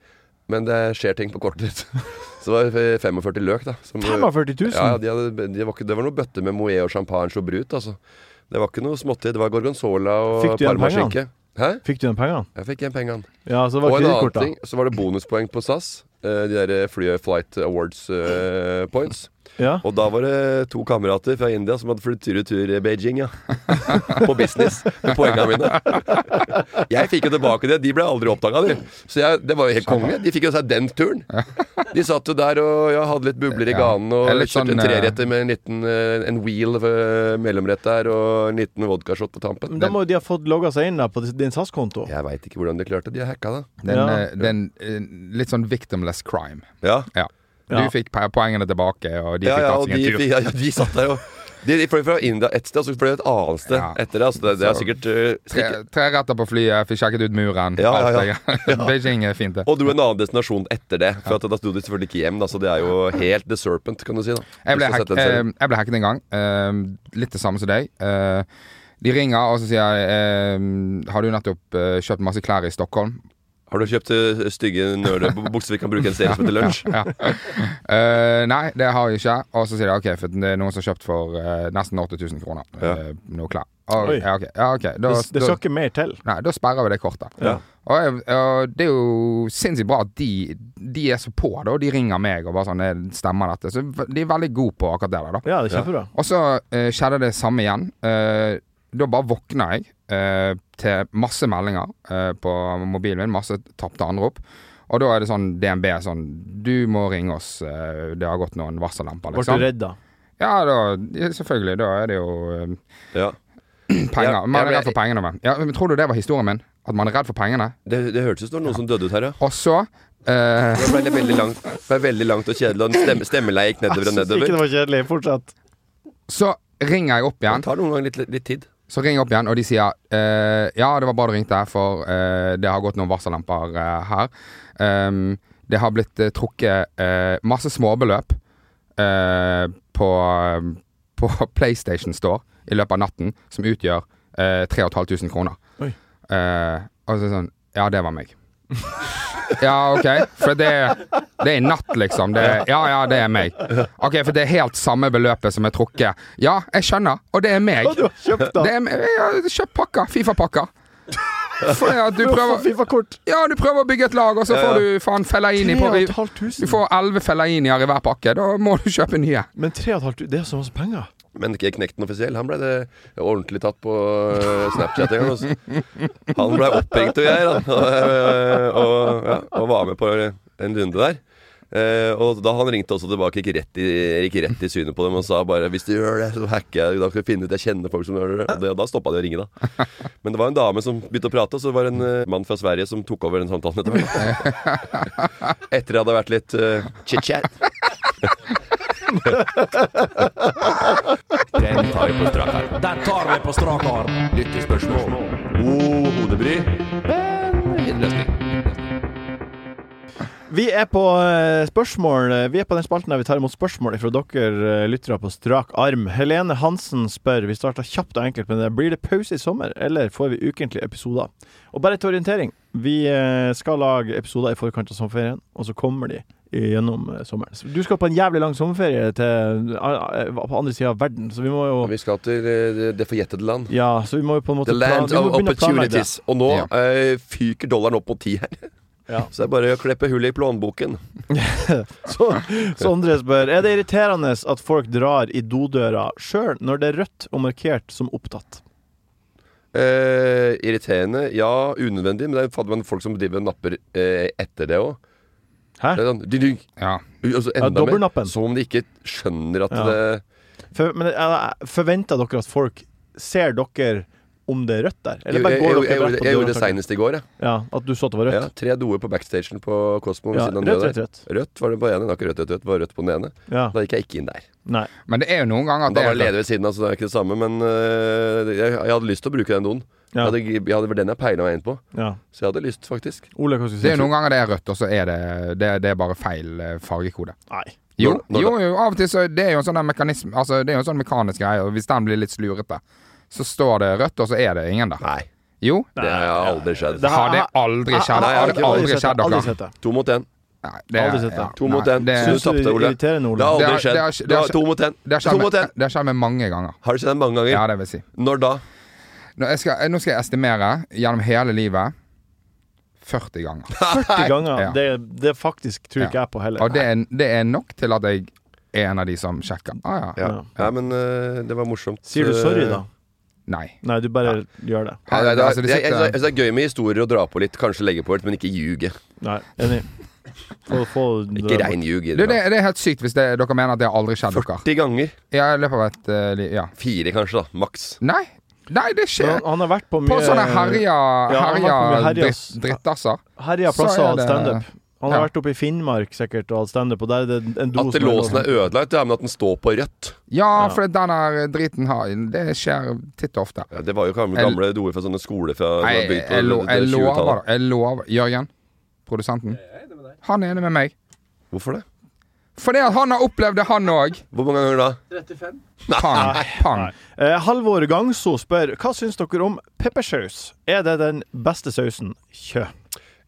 S3: men det skjer ting på kortet ditt. Så det var eh, 45 løk, da. Som, eh,
S4: 45 000?
S3: Ja, de hadde, de var ikke, det var noen bøtter med Moët og champagne og brut, altså. Det var ikke noe småtteri. Det var gorgonzola og
S4: Fikk du igjen
S3: parmaskinke. Hæ?
S4: Fikk du de pengene?
S3: Jeg fikk igjen pengene.
S4: Ja, så det
S3: Og
S4: var
S3: en annen
S4: kredittkort,
S3: ting, så var det bonuspoeng på SAS. eh, De der fly, Flight Awards eh, points.
S4: da. Ja.
S3: Og da var det to kamerater fra India som hadde flydd tur-retur i Beijing, ja. På business, med poengene mine. Jeg fikk jo tilbake det. De ble aldri oppdaga, de. Så jeg, det var jo helt konge. De fikk jo seg den turen. De satt jo der og ja, hadde litt bubler i
S5: Ja.
S3: ganen og
S5: Det er litt
S3: kjørte
S5: sånn,
S3: en
S5: eh,
S3: treretter med en liten eh, en wheel eh, mellomrett der og en liten vodkashot på tampen.
S4: Men da må jo de ha fått logga seg inn da, på din SAS-konto.
S3: Jeg veit ikke hvordan de klarte det. De hacka det.
S5: Det er en,
S4: Ja.
S5: eh, det er en eh, litt sånn victimless crime.
S3: Ja.
S5: Ja. Du
S4: Ja.
S5: fikk pe- poengene tilbake, og de
S3: ja,
S5: fikk
S3: ja,
S5: tatt
S3: og
S5: seg
S3: de,
S5: en tur.
S3: ja, ja, de satt der og de, de fløy fra India ett sted, og så fløy de et annet sted
S5: Ja.
S3: etter det. Altså, det, det er
S5: Så-
S3: sikkert eh,
S5: Tre,
S3: sikkert-
S5: tre retter på flyet, fikk sjekket ut muren.
S3: Ja, ja,
S5: alt
S3: ja.
S5: det greia. Beijing er fint, det.
S3: Og dro en annen destinasjon etter det. For at da sto de selvfølgelig ikke hjem, da, så det er jo helt The Serpent, kan du si. da
S5: Jeg ble,
S3: Hvis du
S5: hack,
S3: setter en
S5: eh,
S3: serie.
S5: jeg ble hacket en gang. eh, litt det samme som deg. Eh, de ringer, og så sier jeg eh, Har du nettopp eh, kjøpt masse klær i Stockholm?
S3: Har du kjøpt eh, stygge nøle bu- bukser vi kan bruke en serie som heter Lunsj?
S5: Ja. Eh, nei, det har jeg ikke. Og så sier de OK, for det er noen som har kjøpt for eh, nesten 8000 kroner
S3: Ja.
S5: eh, noe klær. Og,
S4: Oi.
S5: ja, ok. ja, ok. Da,
S4: Det, det
S5: da,
S4: skal ikke mer til.
S5: nei, da sperrer vi det kortet.
S4: Ja.
S5: Og, jeg- og det er jo sinnssykt bra at de, de er så på, da. De ringer meg og bare sånn eh, Stemmer dette? Så de er veldig gode på akkurat det der, da.
S4: Ja, det er kjempebra.
S5: Og så eh, skjedde det samme igjen. Eh, da bare våkna jeg eh, til masse meldinger eh, på mobilen min, masse tapte anrop. Og da er det sånn DNB sånn Du må ringe oss, eh, det har gått noen varsellamper,
S4: Ble du
S5: liksom.
S4: redd da?
S5: Ja, da, ja, selvfølgelig. Da er det jo eh,
S3: Ja.
S5: penger.
S3: Ja,
S5: Man
S3: ja,
S5: er
S3: men-
S5: redd for pengene. Men. Ja, men tror du det var historien min? At man er redd for pengene?
S3: Det, det hørtes ut som det var noen som døde ut her, ja.
S5: Og så Eh,
S3: Det ble veldig langt, ble veldig langt og kjedelig, og stemme, stemmeleiet gikk nedover og
S4: Syns ikke
S3: nedover.
S4: det var kjedelig. Fortsett.
S5: så ringer jeg opp
S3: Det
S5: igjen,
S3: tar noen ganger litt, litt tid.
S5: Så ringer jeg opp igjen, og de sier eh, Ja, det var bra du ringte, for eh, det har gått noen varsellamper eh, her. Ehm, det har blitt eh, trukket eh, masse småbeløp eh, på, eh, på PlayStation Store i løpet av natten, som utgjør eh, 3500 kroner.
S4: Oi.
S5: Eh, og så er det sånn Ja, det var meg. Ja, OK. For det, det er i natt, liksom. Det, ja, ja, det er meg. OK, for det er helt samme beløpet som er trukket. Ja, jeg skjønner. Og det er meg.
S4: Å, du har kjøpt
S5: Det
S4: den!
S5: er, jeg har kjøpt pakker. Fifa-pakker. For at
S4: Du
S5: du
S4: har fått
S5: prøver
S4: Fifa-kort.
S5: Ja, du prøver å bygge et lag, og så får du faen Fellaini på i-
S4: 3500.
S5: Du får elleve Fellainier i hver pakke. Da må du kjøpe nye.
S4: Men 3500, det er så masse penger.
S3: Men ikke Knekten offisiell. Han ble det ordentlig tatt på eh, Snapchat en gang. altså. Han ble oppringt og greier, da. Og, og, ja, og var med på en runde der. Eh, og da han ringte også tilbake, gikk rett, i, gikk rett i synet på dem og sa bare 'Hvis du gjør det, så hacker jeg deg. Da skal du finne ut Jeg kjenner folk som gjør det.' Og, det, og da stoppa de å ringe, da. Men det var en dame som begynte å prate, og så var det en eh, mann fra Sverige som tok over den samtalen etter hvert. Etter det hadde vært litt eh, chit-chat.
S8: Den tar vi på strak arm. Den tar vi på strak arm. Lyttespørsmål.
S3: God hodebry.
S4: Vi er på eh, spørsmål Vi er på den spalten der vi tar imot spørsmål fra dere eh, lyttere på strak arm. Helene Hansen spør Vi starter kjapt og enkelt med det. Blir det pause i sommer, eller får vi ukentlige episoder? Og bare til orientering. Vi eh, skal lage episoder i forkant av sommerferien, og så kommer de gjennom eh, sommeren. Så Du skal på en jævlig lang sommerferie til, eh, på andre sida av verden, så vi må jo
S3: Og vi skal til eh, det- det forjettede land.
S4: Ja, så vi må jo på en måte
S3: The
S4: plan-
S3: land
S4: vi må
S3: of
S4: begynne å planlegge det.
S3: opportunities. Og nå
S5: Ja.
S3: eh, fyker dollaren opp mot ti her.
S4: Ja.
S3: Så det er bare å kleppe hull i plånboken.
S4: Så, Sondre spør Er det irriterende at folk drar i dodøra sjøl når det er rødt og markert som opptatt?
S3: Eh, irriterende, ja. Unødvendig. Men det er fader meg folk som driver og napper eh, etter det òg.
S4: Hæ?
S3: Det er sånn, ding, ding.
S5: Ja.
S3: Altså,
S4: Ja,
S3: enda mer.
S4: dobbeltnappen.
S3: Som om de ikke skjønner at
S4: Ja.
S3: det
S4: For, men eh, jeg- Forventer dere at folk ser dere om det er rødt der?
S3: Jeg,
S4: Eller
S3: jeg,
S4: bare
S3: jeg,
S4: går
S3: jeg,
S4: dere
S3: gjorde-
S4: rett på
S3: jeg gjorde det
S4: døra?
S3: seinest i går, jeg.
S4: Ja, at du så at det var
S3: Ja,
S4: rødt?
S3: tre doer på backstagen på Kosmo. ved
S4: Ja,
S3: siden av den
S4: rødt,
S3: døra
S4: rødt,
S3: der.
S4: rødt.
S3: Rødt var det på ene. Det var ikke rødt, rødt, rødt. Det var rødt på den ene.
S4: Ja.
S3: Da gikk jeg ikke inn der.
S4: Nei.
S5: Men det er jo noen ganger at
S3: Da
S5: det
S3: var
S5: er
S3: det ledig ved siden av, så det er ikke det samme. Men eh, jeg, jeg hadde lyst til å bruke den doen.
S4: Ja.
S3: Jeg hadde, jeg hadde, det var den jeg peila meg inn på.
S4: Ja.
S3: Så jeg hadde lyst, faktisk.
S4: Ole, hva skulle
S5: Det er
S4: du si?
S5: jo noen ganger det er rødt, og så er det, det, det er bare feil eh, fargekode.
S4: Nei.
S5: Jo,
S3: Når- når
S5: jo, jo, av og til så Det er jo en sånn der mekanisme Altså, det er jo en sånn mekanisk greie, og hvis den blir litt slurete, så står det rødt, og så er det ingen der.
S3: Nei.
S5: Jo.
S3: Det har aldri skjedd.
S4: Det
S5: Har det aldri skjedd?
S3: Nei, jeg har
S5: Har det aldri
S4: sett det,
S5: skjedd dere?
S4: Aldri sett det.
S3: To mot én.
S5: Nei, det er-
S4: Aldri sett det.
S5: ja,
S3: To mot
S5: nei,
S3: én.
S5: det-
S3: Du
S4: Syns du det
S3: tapte,
S4: er
S3: Ole. Det
S4: irriterende,
S3: har
S4: Ole?
S5: Det
S3: aldri
S5: har-
S3: skjedd.
S5: det har skj-
S3: Det har-
S5: det har
S3: To mot én.
S5: Det har
S3: To
S5: skjedd
S3: mot
S5: meg-
S3: én.
S5: det har skjedd meg mange ganger.
S3: Har det skjedd mange
S5: Ja,
S3: ganger?
S5: det vil jeg si.
S3: Når da?
S5: Nå, jeg skal, nå skal jeg estimere gjennom hele livet 40 ganger.
S4: 40 ganger.
S5: Ja.
S4: Det, det faktisk tror ikke
S5: Ja.
S4: jeg på heller.
S5: Og det er, det er nok til at jeg er en av de som sjekker. Ah, ja.
S3: Ja. Nei, men eh, det var morsomt.
S4: Sier du sorry, da?
S5: Nei.
S4: Nei, du bare gjør det.
S3: Nei, nei, det,
S5: Altså,
S3: er,
S5: det
S3: jeg, jeg,
S5: sitter-
S3: jeg synes det er gøy med historier å dra på litt, kanskje legge på litt, men ikke ljuge.
S4: Nei, enig. Få, få
S3: Ikke rein ljug. i
S5: Du,
S3: det
S5: det,
S3: da.
S5: det er helt sykt hvis det, dere mener at det har aldri skjedd dere.
S3: 40 ganger.
S5: Ja, i løpet av et eh, liv. Ja.
S3: Fire, kanskje, da. Maks.
S5: Nei, nei, det skjer.
S4: Men Han har vært på mye
S5: På sånne herja,
S4: Ja, han
S5: herja
S4: har vært på mye
S5: dritt,
S4: herjas-
S5: drittasser.
S4: herja
S5: så
S4: plasser
S5: er
S4: og hatt
S5: det-
S4: standup. Han har
S5: Ja.
S4: vært oppe i Finnmark sikkert og hatt standup, og der er det en do
S3: At det
S4: som er
S3: låsen
S4: låst.
S3: er ødelagt, ja, men at den står på rødt.
S5: Ja, for den der driten har Det skjer titt og ofte.
S3: Ja, det var jo gamle,
S5: Jeg-
S3: gamle doer fra sånne skoler fra, fra
S5: Nei, jeg,
S3: bygd på
S5: jeg, lo-
S3: det-
S5: jeg
S3: det 20-tallet.
S5: lover, jeg lover. Jørgen, produsenten. Han er enig med meg.
S3: Hvorfor det?
S5: Fordi at han har opplevd det, han òg.
S3: Hvor mange ganger da?
S5: Pang, pang.
S4: Eh, Halvor Gangso spør hva syns dere om peppersaus. Er det den beste sausen? Kjø.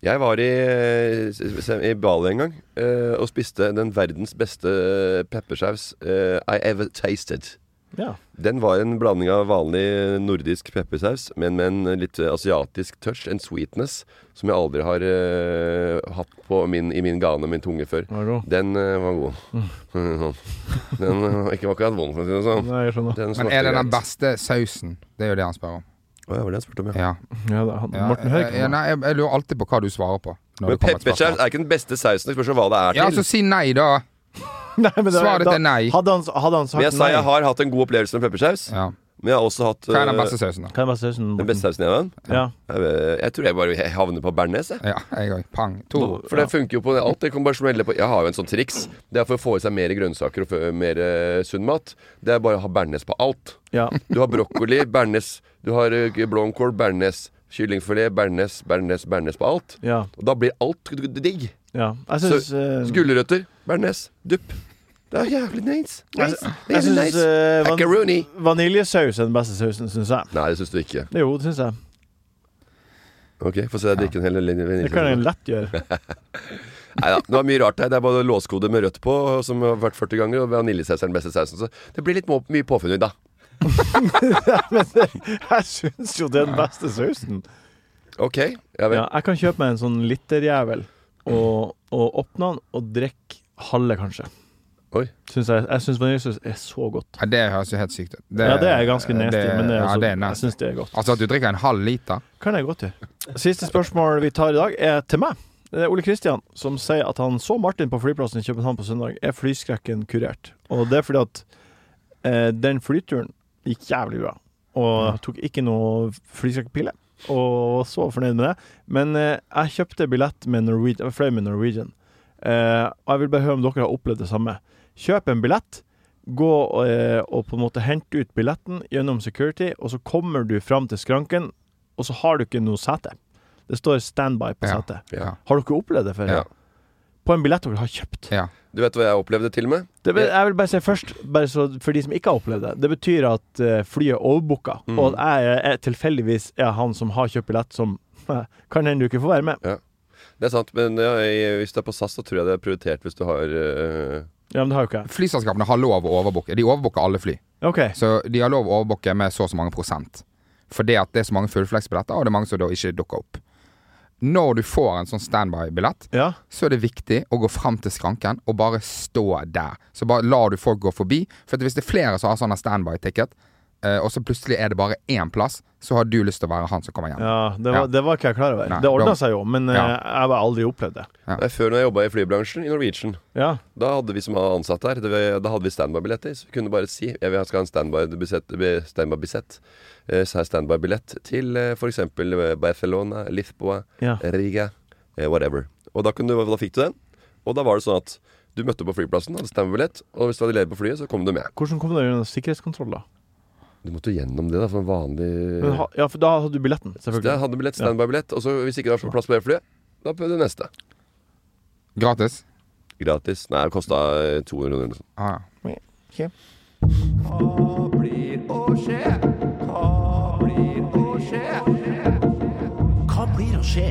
S3: Jeg var i, eh, s- s- i Bali en gang eh, og spiste den verdens beste eh, peppersaus eh, I ever tasted.
S4: Ja.
S3: Den var en blanding av vanlig nordisk peppersaus, men med en litt eh, asiatisk touch, en sweetness, som jeg aldri har eh, hatt på min, i min gane, min tunge før.
S4: Var det god?
S3: Den eh, var god. Mm. Den eh, ikke var ikke vond, for å si det sånn.
S4: Nei, jeg skjønner.
S3: Den
S5: Men er
S3: smakte
S5: det den
S3: greit.
S5: beste sausen? Det er jo det han spør om.
S3: Å, ja, var det jeg spurte om, ja.
S5: Ja.
S4: Ja, det er han.
S5: Ja,
S4: Morten Høeg.
S5: eh, ja, nei, jeg, jeg lurer alltid på hva du svarer på. når
S3: Men
S5: det kommer et spørsmål.
S3: peppersaus er ikke den beste sausen. Det spørs jo hva det er til.
S5: Ja, altså, så si nei, da.
S4: Nei, men det-
S5: Svaret
S4: da-
S5: er nei.
S4: Hadde han, hadde han sagt
S3: Men jeg sa jeg
S4: nei
S3: har hatt en god opplevelse med peppersaus.
S5: Ja.
S3: Men jeg har også hatt
S5: Hva er den
S3: eh,
S5: beste sausen, da?
S4: Hva er med sausen?
S3: den
S4: Morten?
S3: beste sausen jeg har?
S4: Ja.
S3: Jeg, jeg tror jeg bare havner på bearnés, jeg.
S5: Ja, jeg òg. Pang. To.
S3: For det funker jo på alt. Jeg, kan bare smelle på. jeg har jo en sånn triks. Det er for å få i seg mer grønnsaker og få- mer eh, sunn mat. Det er bare å ha bearnés på alt.
S4: Ja.
S3: Du har brokkoli, bearnés. Du har eh, blomkål, bearnés. Kyllingfilet, bearnés, bearnés, bearnés på alt.
S4: ja.
S3: Og da blir alt g- g- digg.
S4: ja. Jeg
S3: Så-
S4: syns eh,
S3: Så Gulrøtter, bearnés, dupp. Det er jævlig nice.
S4: Jeg,
S3: nice.
S4: jeg
S3: Jævlig
S4: syns
S3: nice.
S4: eh, van
S3: Macaroni.
S4: vaniljesaus er den beste sausen, syns jeg.
S3: Nei, det syns du ikke.
S4: Jo, det syns jeg.
S3: Ok, Få se deg drikke en hel linje.
S4: Det kan jeg lett gjøre.
S3: Neida, det var mye rart her. Det er bare låskode med rødt på, som har vært 40 ganger, og vaniljesaus er den beste sausen. Så det blir litt må- mye påfunn i dag.
S4: Men det, jeg syns jo det er den beste sausen.
S3: Ok, jeg vet.
S4: Ja, jeg kan kjøpe meg en sånn literjævel og, og åpne den og drikke halve, kanskje.
S3: Oi.
S4: Syns jeg jeg syns vaniljesaus er så godt.
S5: Ja, det høres jo helt sykt ut. Det-
S4: Ja, det er ganske nasty,
S5: det-
S4: men det er altså-
S5: ja,
S4: også,
S5: det er
S4: jeg
S5: nasty.
S4: syns det er godt.
S5: Altså at du drikker en halv liter?
S4: Kan jeg godt gjøre. Siste spørsmål vi tar i dag, er til meg. Det er Eh, Ole Kristian som sier at han så Martin på flyplassen i København på søndag. Er flyskrekken kurert? Og det er fordi at eh, den flyturen gikk jævlig bra. Og tok ikke noe flyskrekkpille. Og var så fornøyd med det. Men eh, jeg kjøpte billett med Norwegian, jeg fløy med Norwegian. Eh, og jeg vil bare høre om dere har opplevd det samme. Kjøp en billett. Gå eh, og på en måte hente ut billetten gjennom security, og så kommer du fram til skranken, og så har du ikke noe sete. Det står standby på
S5: Ja.
S4: setet.
S3: Ja.
S4: Har dere opplevd det før?
S5: Ja.
S4: På en billett dere har kjøpt.
S5: Ja.
S3: Du vet hva jeg opplevde til og med?
S4: Det, be- jeg vil bare si først, bare så, for de som ikke har opplevd det, det betyr at eh, flyet er overbooka,
S5: Mm.
S4: og at jeg er- er tilfeldigvis er han som har kjøpt billett, som eh, kan hende du ikke får være med.
S3: Det er sant, men ja, jeg, hvis du er på SAS, så tror jeg det er prioritert hvis du har øh,
S4: Ja, men det har jo ikke jeg.
S5: Flyselskapene har lov å overbooke. De overbooker alle fly.
S4: OK.
S5: Så de har lov å overbooke med så og så mange prosent. Fordi at det er så mange fullflex-billetter, og det er mange som da ikke dukker opp. Når du får en sånn standby-billett,
S4: Ja.
S5: så er det viktig å gå fram til skranken og bare stå der. Så bare lar du folk gå forbi. For at hvis det er flere som har sånne standby-ticket, eh, og så plutselig er det bare én plass, så har du lyst til å være han som kommer hjem.
S4: ja det, var,
S5: Ja.
S4: det var ikke jeg klar over.
S5: Nei,
S4: det ordna
S5: bra.
S4: seg jo, men eh,
S5: Ja.
S4: jeg har bare aldri opplevd det.
S3: Nei, Før når jeg jobba i flybransjen, i Norwegian,
S4: Ja.
S3: da hadde vi som var ansatt der, det, var- da hadde vi standby-billetter. Så vi kunne bare si jeg vil ha- skal ha en standby-bisett standby eh, standby-billett til eh, for eksempel eh, Barcelona, Lisboa,
S4: Ja.
S3: Riga, eh, whatever. Og da, kunne du, da fikk du den. Og da var det sånn at du møtte på flyplassen, hadde standby-billett, og hvis du hadde ledig på flyet, så kom du med.
S4: Hvordan kom dere gjennom sikkerhetskontroll, da?
S3: Du måtte jo gjennom det, da, for en vanlig
S4: Men, ha, ja, for da hadde du billetten,
S3: Så jeg
S4: selvfølgelig.
S3: hadde billett, standby-billett. Og så hvis ikke det var plass på det flyet, da prøvde jeg neste.
S5: Gratis.
S3: Gratis. Nei, det kosta 200 kroner eller noe sånt.
S5: Ah, ja.
S8: Hva blir å skje?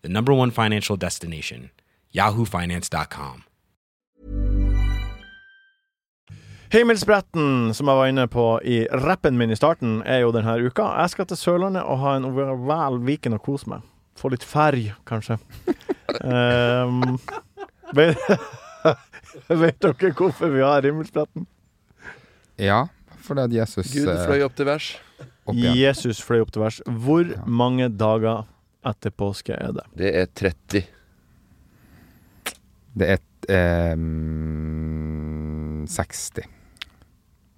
S6: the number one financial destination, yahoofinance.com.
S4: Himmelsbretten, som jeg var inne på i rappen min i starten, er jo denne uka. Jeg skal til Sørlandet og ha en overvæl Viken og kose meg. Få litt ferg, kanskje. Ehm, vet, vet dere hvorfor vi har Himmelsbretten?
S5: ja fordi at Jesus
S3: Gud
S5: eh,
S3: fløy opp til vers.
S5: opp igjen.
S4: Jesus fløy opp til vers. Hvor mange dager etter påske er det?
S3: Det er 30.
S5: Det er eh, ehm, 60.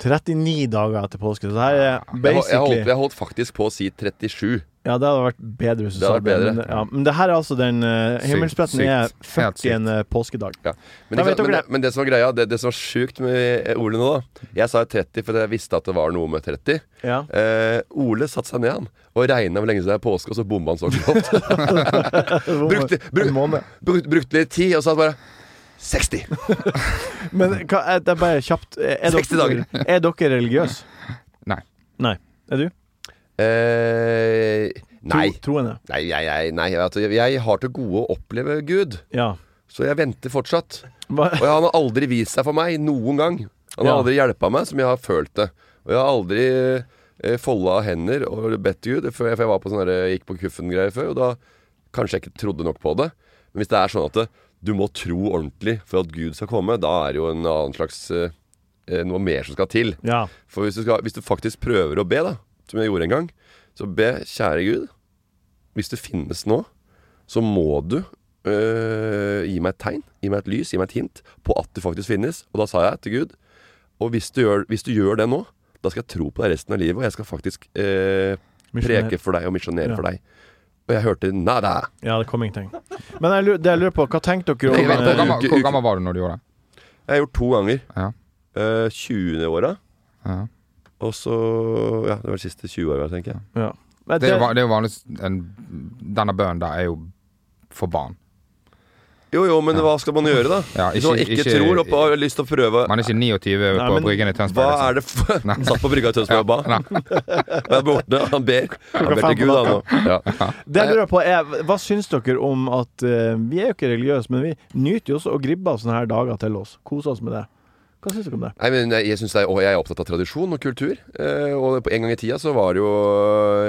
S4: 39 dager etter påske. Så det her er
S3: Jeg, hol- jeg,
S4: basically
S3: holdt, jeg holdt faktisk på å si 37.
S4: Ja, det hadde vært bedre hvis du
S3: Det
S4: sa
S3: hadde
S4: det.
S3: vært
S4: Men,
S3: bedre.
S4: ja, men det her er altså den uh,
S5: Sykt,
S4: Himmelspretten
S5: sykt.
S4: er
S5: Helt sykt.
S4: 40. påskedag.
S3: Ja. Men,
S4: Da vet
S3: ikke sant, men,
S4: dere
S3: det, men det som var greia, det, det som var sjukt med eh, Ole nå, da Jeg sa jo 30 fordi jeg visste at det var noe med 30.
S4: Ja.
S3: Eh, Ole satte seg ned han og regna hvor lenge siden det er påske, og så bomma han så grovt. brukte, bruk, bruk, brukte litt tid, og så bare 60!
S4: Men hva, er det er bare kjapt eh, er
S3: 60
S4: dere, er dere religiøse?
S5: Nei.
S4: Nei. Er du?
S3: Eh, nei.
S4: Tro, troende?
S3: Nei, jeg, jeg, nei altså, jeg, jeg har til gode å oppleve Gud,
S4: Ja.
S3: så jeg venter fortsatt.
S4: Hva,
S3: Og han har aldri vist seg for meg noen gang. Han har
S4: Ja.
S3: aldri hjulpet meg som jeg har følt det. Og jeg har aldri eh, folda hender og bedt Gud, for jeg, for jeg var på sånn der, gikk på kuffen-greier før, og da kanskje jeg ikke trodde nok på det. Men hvis det er sånn at det, du må tro ordentlig for at Gud skal komme, da er det jo en annen slags eh, eh, Noe mer som skal til.
S4: Ja.
S3: For hvis du, skal, hvis du faktisk prøver å be, da, som jeg gjorde en gang, så be, kjære Gud, hvis det finnes nå, så må du øh, gi meg et tegn, gi meg et lys, gi meg et hint på at du faktisk finnes. Og da sa jeg til Gud, og hvis du gjør, hvis du gjør det nå, da skal jeg tro på deg resten av livet, og jeg skal faktisk øh,
S4: Misjonere.
S3: preke for deg og misjonere
S4: Ja.
S3: for deg. Og jeg hørte nada.
S4: Ja, det kom ingenting. Men jeg lurer, det jeg lurer på, hva tenkte dere
S3: Jeg
S5: Hvor
S4: om
S3: vet det.
S5: gammel,
S4: eh,
S5: hvor gammel,
S3: uke-
S5: hvor
S3: uke.
S5: gammel var du når du gjorde det?
S3: Jeg har gjort to ganger.
S5: Ja.
S3: Øh, 20-åra.
S5: Ja.
S3: Og så Ja, det var de siste 20 åra, tenker jeg.
S4: ja. Men
S5: Det er jo,
S4: det-
S5: van- det er jo vanligvis en, Denne bønnen der er jo for barn.
S3: Jo jo, men hva skal man gjøre, da?
S5: Ja,
S3: Hvis man
S5: ikke-
S3: ikke,
S5: ikke-
S3: tror og på- har lyst til å prøve
S5: Man er ikke 29
S4: Nei,
S5: på
S4: men
S5: Bryggen i
S3: Hva
S5: Tønsberg. liksom.
S3: er det for Satt på brygga i Tønsberg og ba. Jeg er borte, han ber. Han ber til
S4: fem på
S3: Gud, han nå. Ja.
S4: Det jeg lurer på er, hva syns dere om at eh, Vi er jo ikke religiøse, men vi nyter jo også å gribbe av sånne her dager til oss. Kose oss med det. Hva syns dere om det?
S3: Nei, men jeg, jeg, synes det er, og jeg er opptatt av tradisjon og kultur. Eh, og på en gang i tida så var jo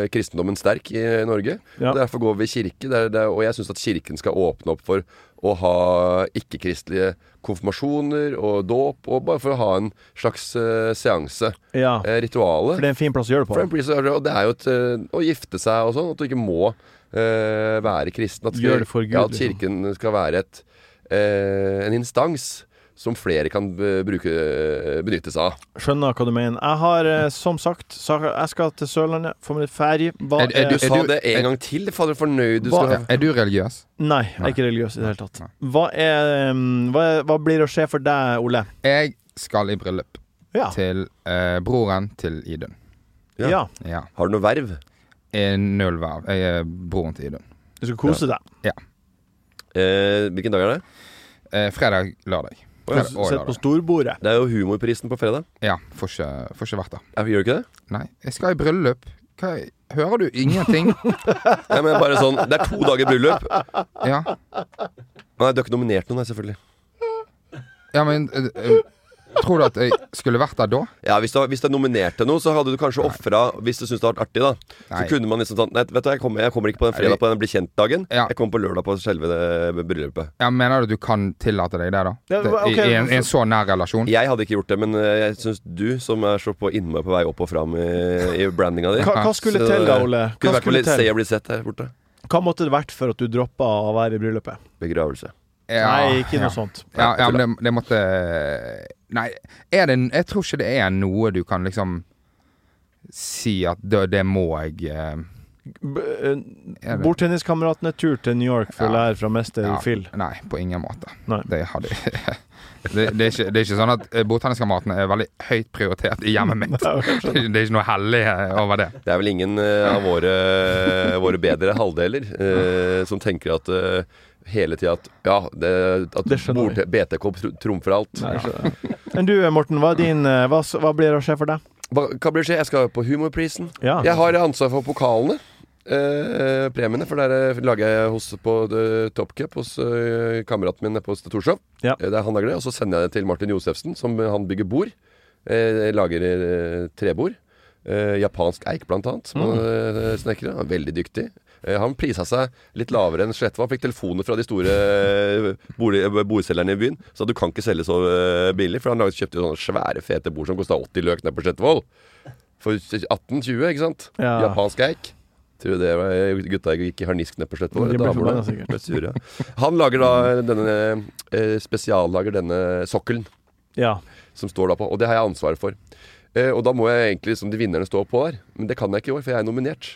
S3: eh, kristendommen sterk i Norge.
S4: Ja.
S3: Derfor går vi i kirke. Det er, det er, og jeg syns at kirken skal åpne opp for å ha ikke-kristelige konfirmasjoner og dåp. Og bare for å ha en slags eh, seanse.
S4: Ja,
S3: Eh, ritualet.
S4: for det er en fin plass å gjøre det
S3: For
S4: på.
S3: en priest, og det er jo et, eh, å gifte seg og sånn, at du ikke må eh, være kristen. At,
S4: Gjør det for Gud,
S3: ja, at
S4: liksom.
S3: kirken skal være et, eh, en instans som flere kan eh, bruke, benytte seg av.
S4: Skjønner hva du mener. Jeg har eh, som sagt sa- Jeg skal til Sørlandet, få meg litt ferie. Hva
S5: Er- er
S4: er
S3: Du sa
S5: du-
S3: det en
S5: er-
S3: gang til, fader fornøyd du
S4: Hva-
S3: skal ha.
S5: Er du religiøs?
S4: Nei, jeg er ikke religiøs i det hele tatt. Hva, er, mm, hva, er, hva blir å skje for deg, Ole?
S5: Jeg skal i bryllup
S4: Ja.
S5: til eh, broren til Idun.
S3: Ja.
S4: ja.
S5: Ja.
S3: Har du noe verv?
S5: Jeg er Null verv. Jeg er broren til Idun.
S4: Du skal kose deg.
S3: Eh, hvilken dag er det?
S5: Eh, fredag, lørdag. Fredag og
S4: Sitte på
S5: lørdag.
S4: storbordet.
S3: Det er jo humorprisen på fredag.
S5: Ja, får ikke, får ikke vært der.
S3: Er- Gjør du ikke det?
S5: Nei, jeg skal i bryllup. Hva, hører du ingenting?
S3: Nei, men bare sånn, Det er to dager bryllup.
S5: Ja,
S3: Nei, Du er ikke nominert noen, nei, selvfølgelig.
S5: ja men eh, eh, Tror du at jeg skulle vært der da?
S3: Ja, Hvis du, hvis du er nominert til noe, så hadde du kanskje ofra Hvis du syntes det hadde vært artig, da. Så
S5: Nei.
S3: kunne man liksom sånn Nei, vet du, jeg kommer, jeg kommer ikke på den fredag på den bli kjent-dagen.
S5: Ja.
S3: Jeg kommer på lørdag på selve det bryllupet.
S5: Ja, Mener du at du kan tillate deg det, da?
S4: Ja,
S5: Det, i,
S4: ok.
S5: i, en, I en så nær
S4: Mm.
S5: relasjon?
S3: Jeg hadde ikke gjort det, men eh, jeg syns du, som er så på innmari på vei opp og fram i, i brandinga di
S4: Hva, hva skulle til da, Ole?
S3: Kunne
S4: Hva,
S3: vært på
S4: skulle
S3: litt Se
S4: til?
S3: og bli sett her borte.
S4: hva måtte det vært for at du droppa å være i bryllupet?
S3: Begravelse.
S5: Ja,
S4: Nei, ikke
S5: ja.
S4: noe sånt.
S5: Ja, ja men det, det måtte Nei, er det, jeg tror ikke det er noe du kan liksom si at det, det må jeg eh,
S4: B- eh,
S5: vet.
S4: Bordtenniskameratene tur til New York for å
S5: Ja.
S4: lære fra mester
S5: ja,
S4: Phil.
S5: Nei, på ingen måte.
S4: Nei.
S5: Det, hadde, det, det, er ikke, det er ikke sånn at eh, Botaniskameratene er veldig høyt prioritert i hjemmet mitt. Det er, ikke- det er ikke noe hellig eh, over det.
S3: Det er vel ingen eh, av våre, eh, våre bedre halvdeler eh, som tenker at eh, hele tida at ja, det, at
S4: Det skjønner
S3: bord- BTK tr- trumfer alt.
S4: Nei, ikke- Men du Morten, hva, er din, eh, hva, s- hva blir det å skje for deg?
S3: Hva, hva blir det skje? Jeg skal på Humorprisen.
S4: Ja.
S3: Jeg har ansvar for pokalene. eh, premiene, for der eh, lager jeg hos, på eh, Top Cup hos eh, kameraten min nede på Torshov.
S4: Ja.
S3: Eh, der han lager det. Og så sender jeg det til Martin Josefsen, som eh, han bygger bord. Eh, lager eh, trebord. Eh, japansk eik, blant annet, som han
S4: Mm.
S3: eh, snekrer. Han er veldig dyktig. Eh, han prisa seg litt lavere enn Sletva. Fikk telefoner fra de store eh, bolig, bordselgerne i byen. Sa du kan ikke selge så eh, billig, for han laget, kjøpte jo sånne svære, fete bord som kosta 80 løk nede på Sletvoll. For 18-20, ikke sant?
S4: Ja.
S3: Japansk eik. Tror du det var eh, gutta gikk i harnisk nede på Sletvoll?
S4: De ble
S3: Damene
S4: forbanna, sikkert.
S3: ble sure. Han lager da denne eh, spesiallager denne sokkelen
S4: Ja.
S3: som står da på, og det har jeg ansvaret for. Eh, og da må jeg egentlig som de vinnerne står på der, men det kan jeg ikke i år, for jeg er nominert.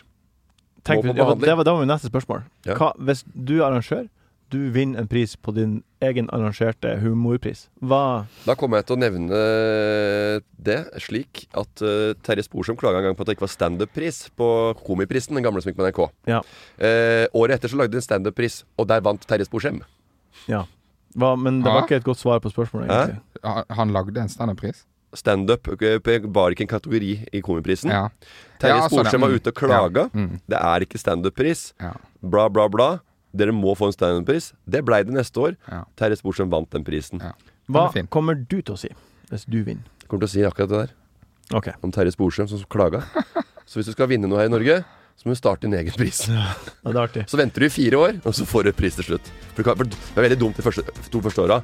S4: Tenk, vi-
S3: Må på
S4: det, var,
S3: behandling.
S4: det, var, det var mitt neste spørsmål.
S3: Ja.
S4: Hva, hvis du er arrangør, du vinner en pris på din egen arrangerte humorpris. Hva
S3: Da kommer jeg til å nevne det slik at eh, Terje Sporsem klaga en gang på at det ikke var standup-pris på Komiprisen, den gamle som gikk på NRK.
S4: Ja.
S3: Eh, året etter så lagde de en standup-pris, og der vant Terje Sporsem.
S4: Ja. Hva, men det var
S5: Hæ?
S4: ikke et godt svar på spørsmålet,
S3: Hæ?
S4: egentlig.
S5: Han, han lagde en standup-pris?
S3: Standup eh, var ikke en kategori i
S4: Mm.
S3: Komiprisen.
S5: Ja.
S3: Terje
S5: Ja, sånn, ja.
S3: Sporsem var ute og klaga.
S5: Ja. Mm.
S3: Det er ikke standup-pris.
S5: Ja.
S3: Bla, bla, bla. Dere må få en standup-pris. Det blei det neste år.
S5: Ja.
S3: Terje Sporsem vant den prisen.
S5: Ja. Den er
S4: Hva
S5: fin.
S4: kommer du til å si hvis du vinner?
S3: kommer til å si akkurat det der
S4: Ok.
S3: om Terje Sporsem som klaga. Så hvis du skal vinne noe her i Norge, så må du starte din egen pris.
S4: Ja, det er artig.
S3: Så venter du i fire år, og så får du pris til slutt. For du kan, for det er veldig dumt de første, to første åra.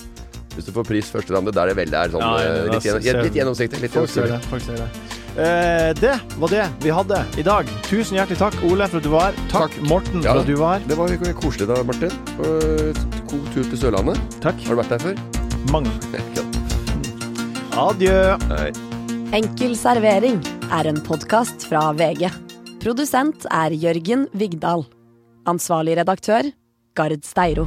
S3: Hvis du får pris første randet, der det veldig er sånn
S4: Ja, ja,
S3: eh,
S4: ja,
S3: litt, gjennom,
S4: ser-
S3: litt gjennomsiktig. Litt
S4: Folk ser
S3: gjennomsiktig.
S4: det. Folk ser det. Eh, det var det vi hadde i dag. Tusen hjertelig takk, Ole, for at du var her. Takk,
S3: Takk.
S4: Morten,
S3: Ja.
S4: for at du var her.
S3: Det var jo koselig da, Martin. Og God tur til Sørlandet.
S4: Takk.
S3: Har du vært der før?
S4: Mange.
S3: Ikke sant?
S4: Adjø.
S3: Nei.
S1: Enkel servering er en podkast fra VG. Produsent er Jørgen Vigdal. Ansvarlig redaktør Gard Steiro.